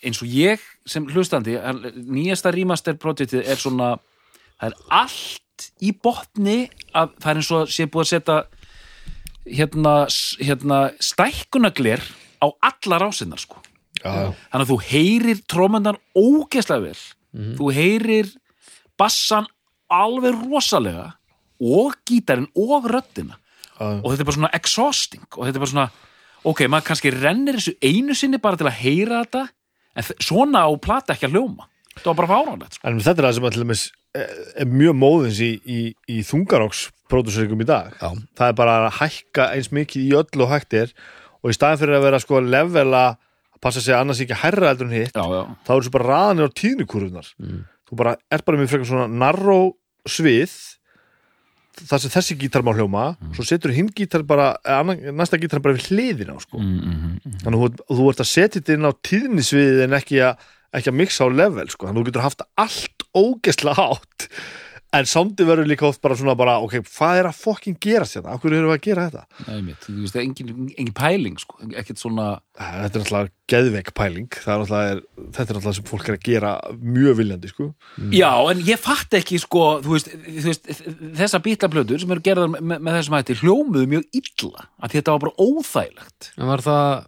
S2: eins og ég sem hlustandi hann, nýjasta remaster projektið er svona það er allt í botni að það er eins og sé búið að setja hérna, s- hérna stækkunagler á allar ásinnar sko
S3: Já, já
S2: þannig að þú heyrir trómundan ógeðslega vel þú heyrir bassan alveg rosalega og gítarinn og röddina
S3: Já.
S2: og þetta er bara svona exhausting og þetta er bara svona, ok, maður kannski rennir þessu einu sinni bara til að heyra þetta en þ- svona á plata ekki að hljóma það var bara fáránlegt sko.
S3: En þetta er það sem að til dæmis eh, er mjög móðins í, í, í þungaróks pródúsurikum í dag.
S1: Já.
S3: Það er bara að hækka eins mikið í öllu og hægt er og í staðan fyrir að vera sko levela að passa sig að annars ekki hærra heldur en hitt,
S2: já, já,
S3: þá eru svo bara raðanir á tíðnikurvurnar. Mm. Þú bara er bara mjög frekar svona narró svið þar sem þessi gítar má hljóma
S2: Mm.
S3: svo setur hinn gítar bara eh, annan, næsta gítar bara við hliðina á sko.
S2: mm, mm, mm.
S3: þannig að þú, þú ert að setja þetta inn á tíðnisviðið en ekki að, ekki að mixa á level sko. þannig að þú getur haft allt ógesla hátt en sándi verður líka oft bara svona bara, ok, hvað er að fokkin gera þetta? Akkur erum við að gera þetta?
S2: Nei, mitt, þú veist, það er engin, engin pæling sko. ekkert svona
S3: Eh, Þetta er alltaf geðveik pæling Það er alltaf, þetta er alltaf sem fólk er að gera mjög viljandi, sko
S2: Já, en ég fatt ekki sko, þú veist, þú veist þessa bítlaplötur sem eru gerðar með, með þessum hætti hljómuðu mjög illa að þetta var bara óþægilegt
S1: En var það,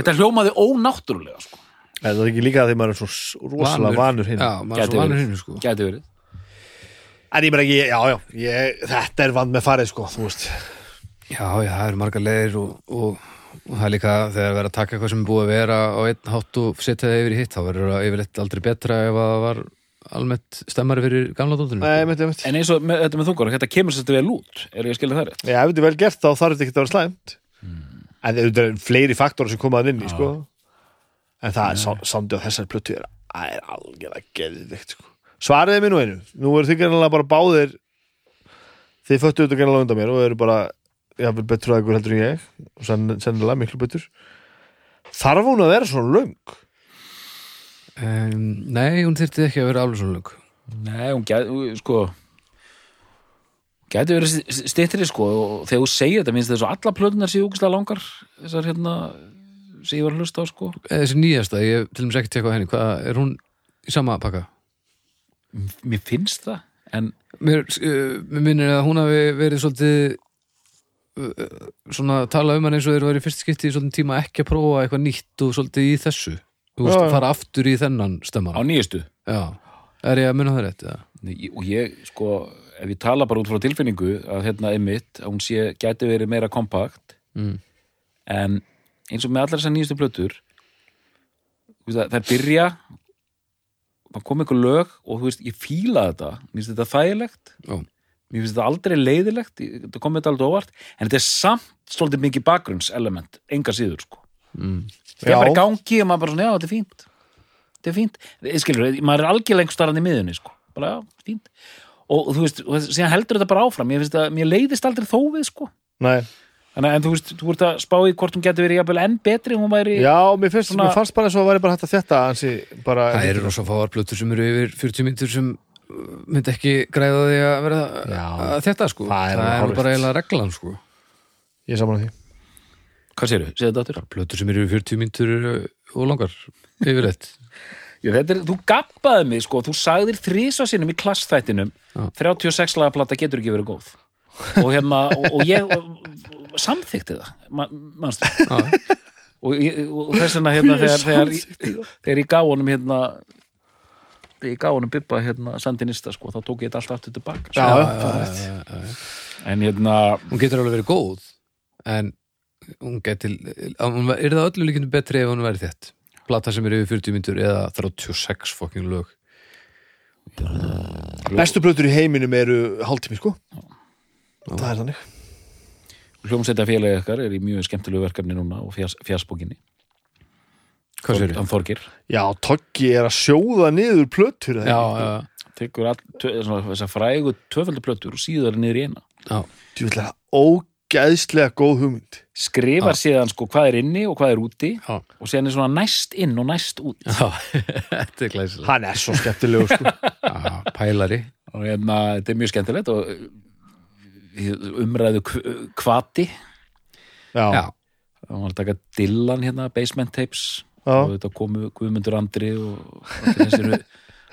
S2: Þetta hljómaði ónáttúrulega sko.
S3: En það er ekki líka að því maður er svo rosalega vanur hinn
S1: Já, maður er
S2: Gæti
S1: svo vanur
S2: verið.
S1: hinn sko.
S2: Gæti verið
S3: En ég meina ekki, já, já, ég, þetta er vand með farið, sko, þú veist
S1: Já, já, það eru margar leiðir og, og, og það er líka þegar það er að taka eitthvað sem er búið að vera á einn hátt og setja það yfir í hitt þá verður það yfirleitt aldrei betra ef að það var almennt stemmari fyrir gamla dóttunum
S3: Nei, meinti, meinti.
S2: En eins og með, þetta með þungar, þetta kemur sér til vel út er ég að skilja það rétt?
S3: Já, ef þetta er vel gert þá þarf þetta ekki að vera slæmt En þetta er fleiri faktorar sem komaðan inn í, sko En það er sá- sándi á þessari plötu er, það er algjörlega geðvikt, sko Svariði mér nú einu, nú eru þið gerðanlega bara báðir Þið föttu þetta gerðanlega undan mér og eru bara jafnvel betur að ykkur heldur en ég og senn, sennilega miklu betur Þarf hún að vera svona löng?
S1: um, Nei, hún þyrfti ekki að vera alveg svona lög
S2: Nei, hún gæti, hún- sko gæti verið styttri sko og þegar þú segir þetta minnst þess að alla plötunar séu úkislega langar þessar hérna sem ég var að hlusta á sko
S1: Eða Eh, Þessi nýjasta, ég til dæmis ekki tekka á henni Hvað er hún í sama pakka?
S2: Mér finnst það, en
S1: Mér, uh, mér minnir að hún hafi verið svolítið uh, svona tala um hann eins og þeir verið fyrst skipti í svolítið tíma ekki að prófa eitthvað nýtt og svolítið í þessu Þú veist,
S3: Já, já.
S1: fara aftur í þennan
S2: á
S1: stemmara
S2: nýjastu
S1: Já, er ég að minna það rétt? eða?
S2: Nei, og ég sko, ef ég tala bara út frá tilfinningu að hérna einmitt, að hún sé gæti verið meira kompakt
S1: Mm.
S2: en eins og með allar þessar nýjastu plötur þú veist að það byrja það kom einhver lög og þú veist, ég fíla þetta mér finnst þetta þægilegt
S1: Já.
S2: mér finnst þetta aldrei leiðilegt ég- þetta kom þetta aldrei óvart en þetta er samt svolítið mikið bakgrunnselement enga síður sko það er
S3: Já.
S2: bara í gangi og maður bara svona, já þetta er fínt þetta er fínt, Ég skilur, maður er algjörlega einhver starrandi í miðunni sko, bara já, fínt og þú veist, og síðan heldur þetta bara áfram ég finnst að mér leiðist aldrei þó við sko
S3: Nei,
S2: Þannig, að- en þú veist, þú ert að spá í hvort hún getur verið jafnvel enn betri, hún væri
S3: já, mér finnst,
S2: Svona-
S3: mér fannst bara eins og það væri bara hægt að þetta ansi, bara,
S1: Það eru rosa fáar plötur sem eru yfir 40 myndur sem uh, myndi ekki græða því að vera
S3: Já.
S1: að þetta sko
S3: Það er alveg
S1: nú
S3: hárrétt.
S1: bara eiginlega reglan sko
S3: ég er saman að því
S2: hvað sérðu, segðu þetta áttur
S1: plötur sem eru yfir 40 myndur og langar yfirleitt
S2: er, þú gappaði mig sko, þú sagðir þrísa sinnum í klassþættinum 36 lagaplata getur ekki verið góð og hérna, og, og ég samþykti það, ma- manstu
S1: Ah,
S2: og, ég- og þess vegna hérna
S3: Ég er
S2: þegar, þegar, ég- þegar ég gaf honum hérna þegar ég gaf honum Bibba hérna sandinista sko, þá tók ég þetta allt aftur tilbaka sko.
S3: Já, já, það er rétt.
S2: en hérna,
S1: Hún getur alveg verið góð en hún getur hún er það öllu líkinu betri ef hún væri þett plata sem eru yfir 40 myndur eða 36 fucking lög
S3: Bestu plötur í heiminum eru hálftími sko Það er þannig
S2: hljómsveita félagi ykkar er í mjög skemmtilegu verkefni núna og fjars, fjarsbókinni
S1: Hvað sér
S2: hann Þorgir
S3: Já, Toggi er að sjóða niður plötur eða
S1: Já,
S3: ekki?
S1: já,
S2: tekur all, tö, svona, þessa frægu tvöföldu plötur og síðar niður í eina
S1: já
S3: Þú vil það ógæðslega góð hugmynd
S2: skrifar síðan sko hvað er inni og hvað er úti
S1: Já.
S2: og síðan er svona næst inn og næst út
S1: Já, þetta er glæsilega
S3: Hann er svo skemmtilegur sko
S1: Já, Pælari
S2: og hérna, þetta er mjög skemmtilegt og uh, hið- umræðu kv- kvati
S3: Já, já,
S1: Já,
S2: það var að taka Dylan hérna, Basement Tapes
S3: Já.
S2: og þetta komu Guðmundur Andri og allir þessi,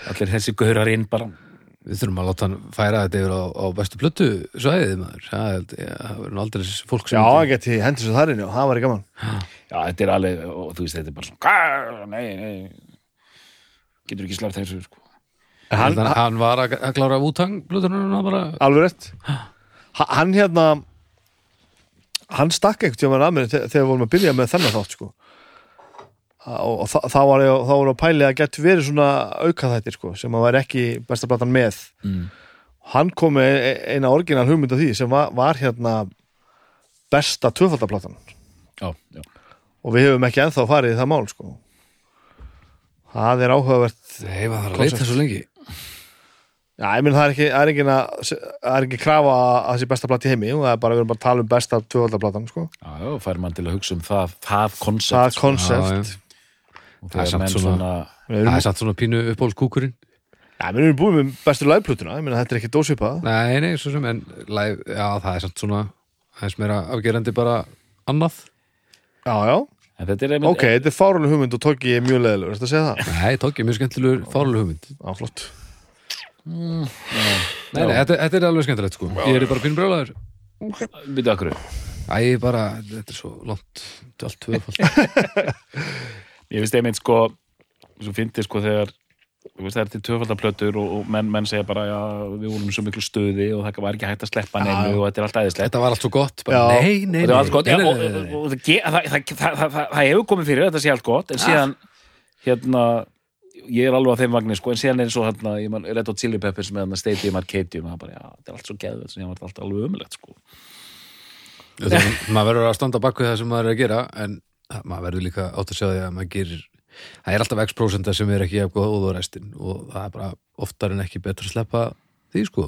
S2: allir þessi gaurar inn bara
S1: Við þurfum að láta hann færa þetta yfir á, á bestu plötu svæðið maður. Það er- það verður nú aldrei þessi fólk sem...
S3: hann geti hendur svo þar inn og það var í gaman
S2: já, þetta er alveg, og þú veist, þetta er bara svona "Hvað? nei, nei getur ekki slæft þessu sko.
S3: En
S1: hann,
S3: hann,
S1: hann, var að, að klára Wu-Tang plötunum og bara...
S3: alveg rétt Ha- Hann hérna Hann stakk einhvern tímann að mér þe- þegar við vorum að byrja með þennan þátt sko og þa- þá var ég þá var ég að pæli að gett verið svona auka þættir sko, sem að var ekki besta platan með
S2: Mm.
S3: hann kom með e- eina orginal hugmynd af því sem var, var hérna besta tvöfaldaplatan
S2: já, já.
S3: og við hefum ekki ennþá farið í það mál sko. það er áhugavert
S1: Nei, maður þarf að leita svo lengi
S3: Já, ég minn það er ekki, það er engin að, það er ekki krafa að að það sé besta plati í heimi og það er bara, við erum bara að tala um besta tvöfaldaplatan, sko.
S2: Já, já, fær mann til að hugsa um það, það sko,
S3: Það er
S2: koncept
S3: konsept.
S1: Já, það er
S2: og þegar
S1: samt
S2: menn
S1: svona-
S2: svona
S3: Við
S1: já. Það
S3: erum,
S1: er satt svona pínu uppáhaldskúkurinn
S3: já, við erum búin með bestu lagplötuna, ég minn þetta er ekki dósvipað.
S1: Nei, nei, svo sem, en live, já, það er samt svona aðeins meira afgerandi bara annað
S3: Já, já,
S2: en þetta er einmitt
S3: ok, þetta er fáruleg hugmynd og tók ég mjög leðilegur, þetta segja það.
S1: Nei, tók ég mjög skemmtilegur fáruleg hugmynd
S3: Já, flott.
S1: Nei, nei, þetta, þetta er alveg skemmtilegt, sko Ég er bara pínu brjólaður
S2: Býtu okkur
S1: Æ, ég bara, þetta er svo langt þetta er allt tvöfald
S2: Ég finnst einmitt sko svo fyndi sko þegar þú veist, það er til töfaldaplötur og, og menn, menn segja bara já, við vorum í svo miklu stuði og það var ekki hægt að sleppa neinu og þetta er allt æðislegt
S1: Þetta var allt svo gott, bara,
S3: Já.
S1: nei, nei, nei,
S2: og það var allt gott
S1: nei,
S2: já,
S1: nei,
S2: og,
S1: nei, nei,
S2: og, og það ge- það- það- það- það- það- það hefur komið fyrir að þetta sé allt gott en síðan hérna ég er alveg á þeim vagnir sko en síðan er eins og hérna ég man Red Hot Chili Peppers með hérna Stadium Arcadium og það bara já þetta er allt svo geðvöld sem ég var allt alveg umulegt sko
S1: Þú veist, maður verður að standa bak við það sem maður er að gera en maður verður líka átt að segja því að maður gerir það er alltaf x% sem er ekki jafn góð og restin og það er bara oftar en ekki betra að sleppa því sko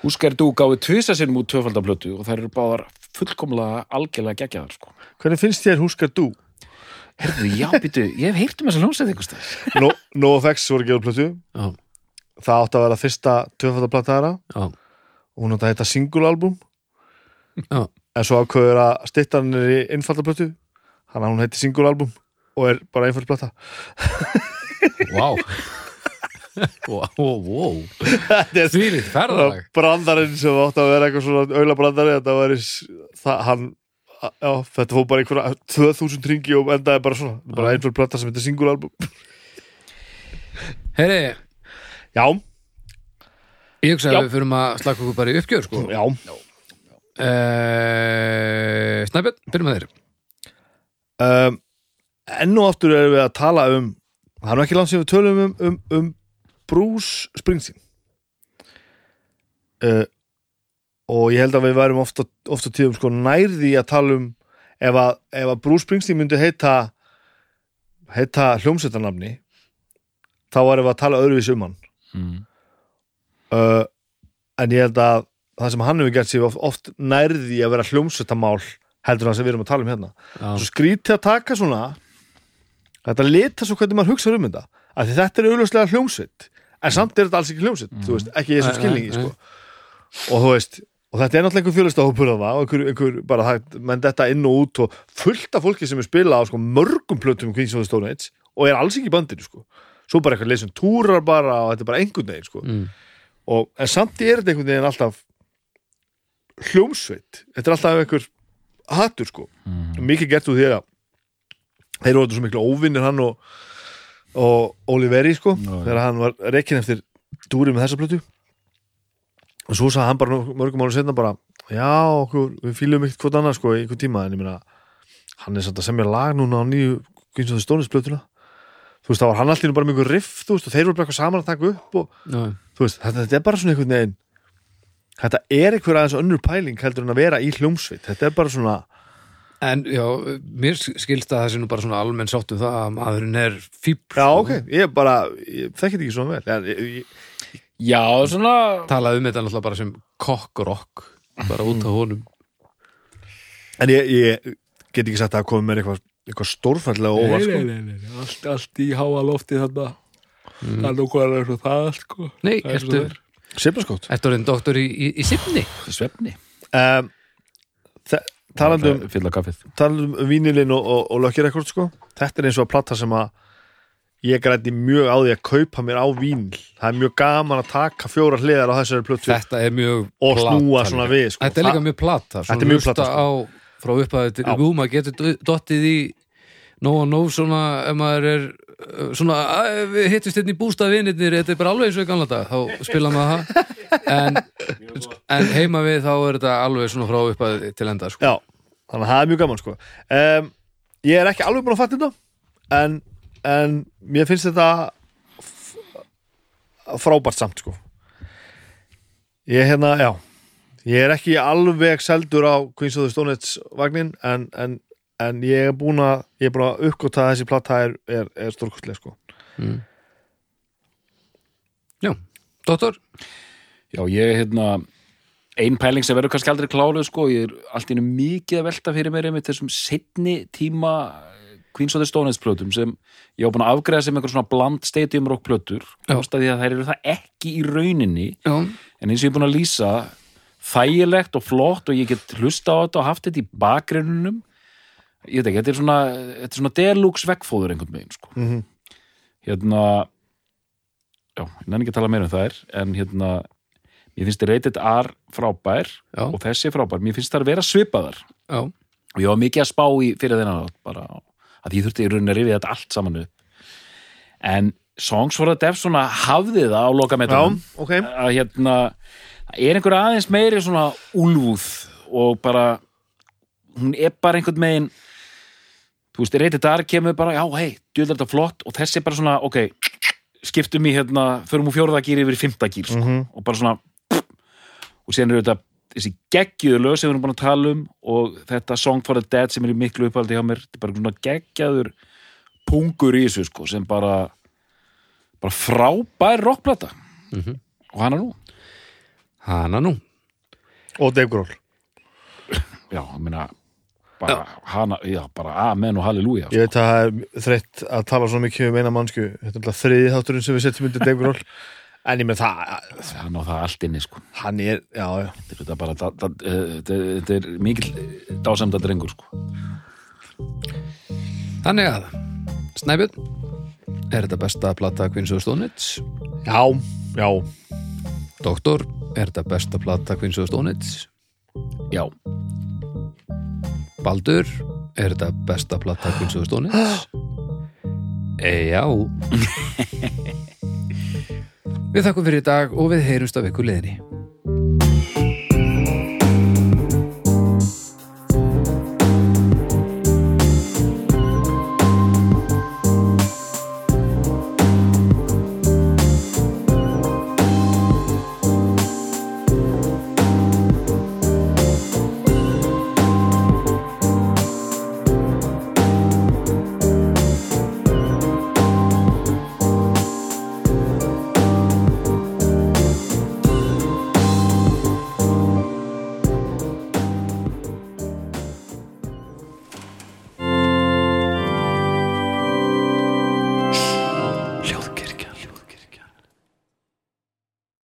S2: Húskar Dú gáði tvisa sinn mút töfaldaplötu og þær eru báðar fullkomlega algjörlega geggjaðar sko
S3: Hvernig finnst þér húskar dú?
S2: Herðu, já, býtu, ég hef heyrt um þess að hljómsveit einhvers þar.
S3: No, NoFX voru gefur plötu,
S1: já,
S3: það átti að vera fyrsta tvöfaldaplata þeirra
S1: já,
S3: og hún átti að heita single album
S1: já,
S3: en svo ákveður að stittan er í einfaldaplötu, þannig að hún heiti single album og er bara einfaldaplata.
S1: wow wow, wow,
S3: Þetta er
S1: því lít ferðalag
S3: brandarinn sem átti að vera eitthvað svona auðla brandari þetta var það, hann já, þetta fór bara einhverja 2000 ringi og endaði bara svona Þetta er bara einhver plata sem heitir single album
S1: heyri,
S3: já,
S1: ég hugsa
S2: Já.
S1: að við fyrum að slaka okkur bara í uppgjör sko
S3: já,
S1: uh, Snæbjörn, byrjum að þeir
S3: um, enn og aftur erum við að tala um það er nú ekki langt sem við tölum um, um, um Bruce Springsteen uh, og ég held að við værum ofta, ofta tíðum sko nærði að tala um ef að, ef að Bruce Springsteen myndi heita heita hljómsveitarnafni þá varum við að tala öðruvísi um hann
S2: Mm.
S3: uh, en ég held að það sem hann hefur gert sér oft, oft nærði að vera hljómsveitamál heldur en það sem við erum að tala um hérna
S1: já,
S3: svo skrítið að taka svona þetta leta svo hvernig maður hugsa um þetta af því þetta er augljóslega hljómsveit en samt er þetta alls ekki hljómsveit þú veist, ekki í þessum
S1: Nei,
S3: skilningi
S1: Mm. nei,
S3: sko. og þú veist, og þetta er náttúrulega einhver fjölistahópur af það og einhver, einhver bara það, menn þetta inn og út og fullt af fólki sem er spila á sko, mörgum plötum um Queens of the Stone Age og er alls ekki í bandinu sko. svo bara eitthvað leysum túrar bara og þetta er bara einhvern veginn sko.
S1: Mm.
S3: og, en samt er þetta einhvern veginn alltaf hljómsveit þetta er alltaf einhver hattur sko
S2: Mhm.
S3: mikið gert úr því að þeir voru svo miklu óvinnir hann og, og Oliveri sko
S2: já.
S3: þegar hann var reikin eftir dúri með þessa plötu og svo sagði hann bara nú- mörgum árum setna bara já, okkur, við fýlum ekkert hvort annað sko í einhvern tíma, en ég meina hann er samt að semja lag núna á nýju eins og það stónist plötuna þú veist, þá var hann allir bara með einhver riff, þú veist, og þeir voru bara eitthvað saman að taka upp og
S1: já,
S3: þú veist, þetta, þetta er bara svona einhvern veginn þetta er einhver aðeins önnur pæling heldur en að vera í hljómsveit, þetta er bara svona
S1: en já, mér skilst að það sé nú bara svona almenn sátt um það að maðurinn er fíbl
S3: Já, ok, ég bara, ég þekki þetta ekki svona vel ég, ég, ég,
S2: Já, svona
S1: talaði um þetta náttúrulega bara sem kokkrokk bara út á honum
S3: En ég, ég get ekki sagt að það komi mér eitthvað, eitthvað stórfallega óvart sko.
S5: nei, nei, nei, allt, allt í háa lofti þarna það er nú hvað er eins og það allt sko
S1: Nei,
S5: Það er eins og
S1: ertu,
S5: það er.
S3: Sveiflaskott
S1: ertu orðin doktor í, í, í sifni?
S2: svefni
S3: um, þe- Talandi um,
S2: Fylla kaffið
S3: talandi um vínilinn og, og, og lökkirekord sko. Þetta er eins og að platta sem að ég græti mjög á því að kaupa mér á vínil Það er mjög gaman að taka fjóra hliðar á þessari plötu
S1: Þetta er mjög
S3: og snúa
S1: plata
S3: svona
S1: líka.
S3: við sko.
S1: Þetta er líka
S3: Það-
S1: mjög plata
S3: Þetta er mjög plata, sko.
S1: á, Frá upphæði til
S3: Já.
S1: rúm að getur dottið í nóg og nóg svona ef maður er uh, svona "Æ, við hittist hérna í bústaðvinirnir þetta er bara alveg eins og í gamla dag þá spila maður það en, en heima við þá er þetta alveg svona frá upphæði til enda sko.
S3: Já, þannig að það er mjög gaman sko. um, Ég er ekki alveg búin að fatta þetta en, en mér finnst þetta f- frábært samt sko ég hérna, já ég er ekki alveg seldur á Queens of the Stone Age vagnin en, en, en ég er búin að ég er búin að uppgóta að þessi platta er, er, er stórkustlega sko
S1: Já, dottor
S2: Já, ég er hérna ein pæling sem verður kannski aldrei kláluð sko, ég er allt í einu mikið að velta fyrir mér einmitt þessum setni tíma eh, Queens of the Stone Age plötum sem ég var búin að afgreða sem einhver svona bland stadium rock plötur,
S1: Já.
S2: komst að því að þær eru það ekki í rauninni,
S1: Já,
S2: en eins og ég er búin að lýsa þægilegt og flott og ég get hlusta á þetta og haft þetta í bakgrunnum ég veit ekki, þetta er svona, þetta er svona deluxe vegfóður einhvern veginn sko.
S3: Mhm.
S2: hérna já, ég nenni ekki að tala meira um þær en hérna, mér finnst reytið R frábær
S1: Já.
S2: og þessi frábær, mér finnst þær vera svipaðar
S1: já,
S2: og ég var mikið að spá í fyrir þennan þátt, bara að ég þurfti í rauninni að rifið þetta allt saman upp en Songs for the Deaf svona hafði það á loka
S3: já,
S2: metrunum
S3: ok
S2: að hérna það er einhver aðeins meiri svona úlfúð og bara hún er bara einhvern megin þú veist, reytið þar kemur bara já, hei, djöðlega þetta flott og þessi er bara svona, ok skiptum í hérna, förum úr fjórðagýr yfir í fimmtagýr, sko, og bara svona og síðan eru þetta þessi geggjuðu lög sem við erum búin að tala um og þetta Song for the Dead sem er í miklu uppaldi hjá mér, þetta er bara svona geggjaður pungur í þessu, sko, sem bara bara frábær rockplata og hana nú
S1: hana nú
S3: og Dave Grohl
S2: já, ég meina bara hana, já, bara amen og halleluja sko.
S3: Ég veit að það er þreytt að tala svona mikið um eina mannsku Þetta er alltaf þriði þátturinn sem við setjum undir Dave Grohl En ég með það,
S2: sko. hann á það allt inni sko.
S3: hann er, já, já
S2: þetta er þetta bara það- það- eh, þetta er- þetta er mikil dásamda drengur sko.
S1: Þannig að, Snæbjörn Er þetta besta plata Queens of the Stone Age?
S3: Já, já,
S1: Doktor, er þetta besta plata Queens of the Stone Age?
S2: já,
S1: Baldur, er þetta besta plata Queens of the Stone Age? E, já Við þakkum fyrir í dag og við heyrumst af ykkur leðinni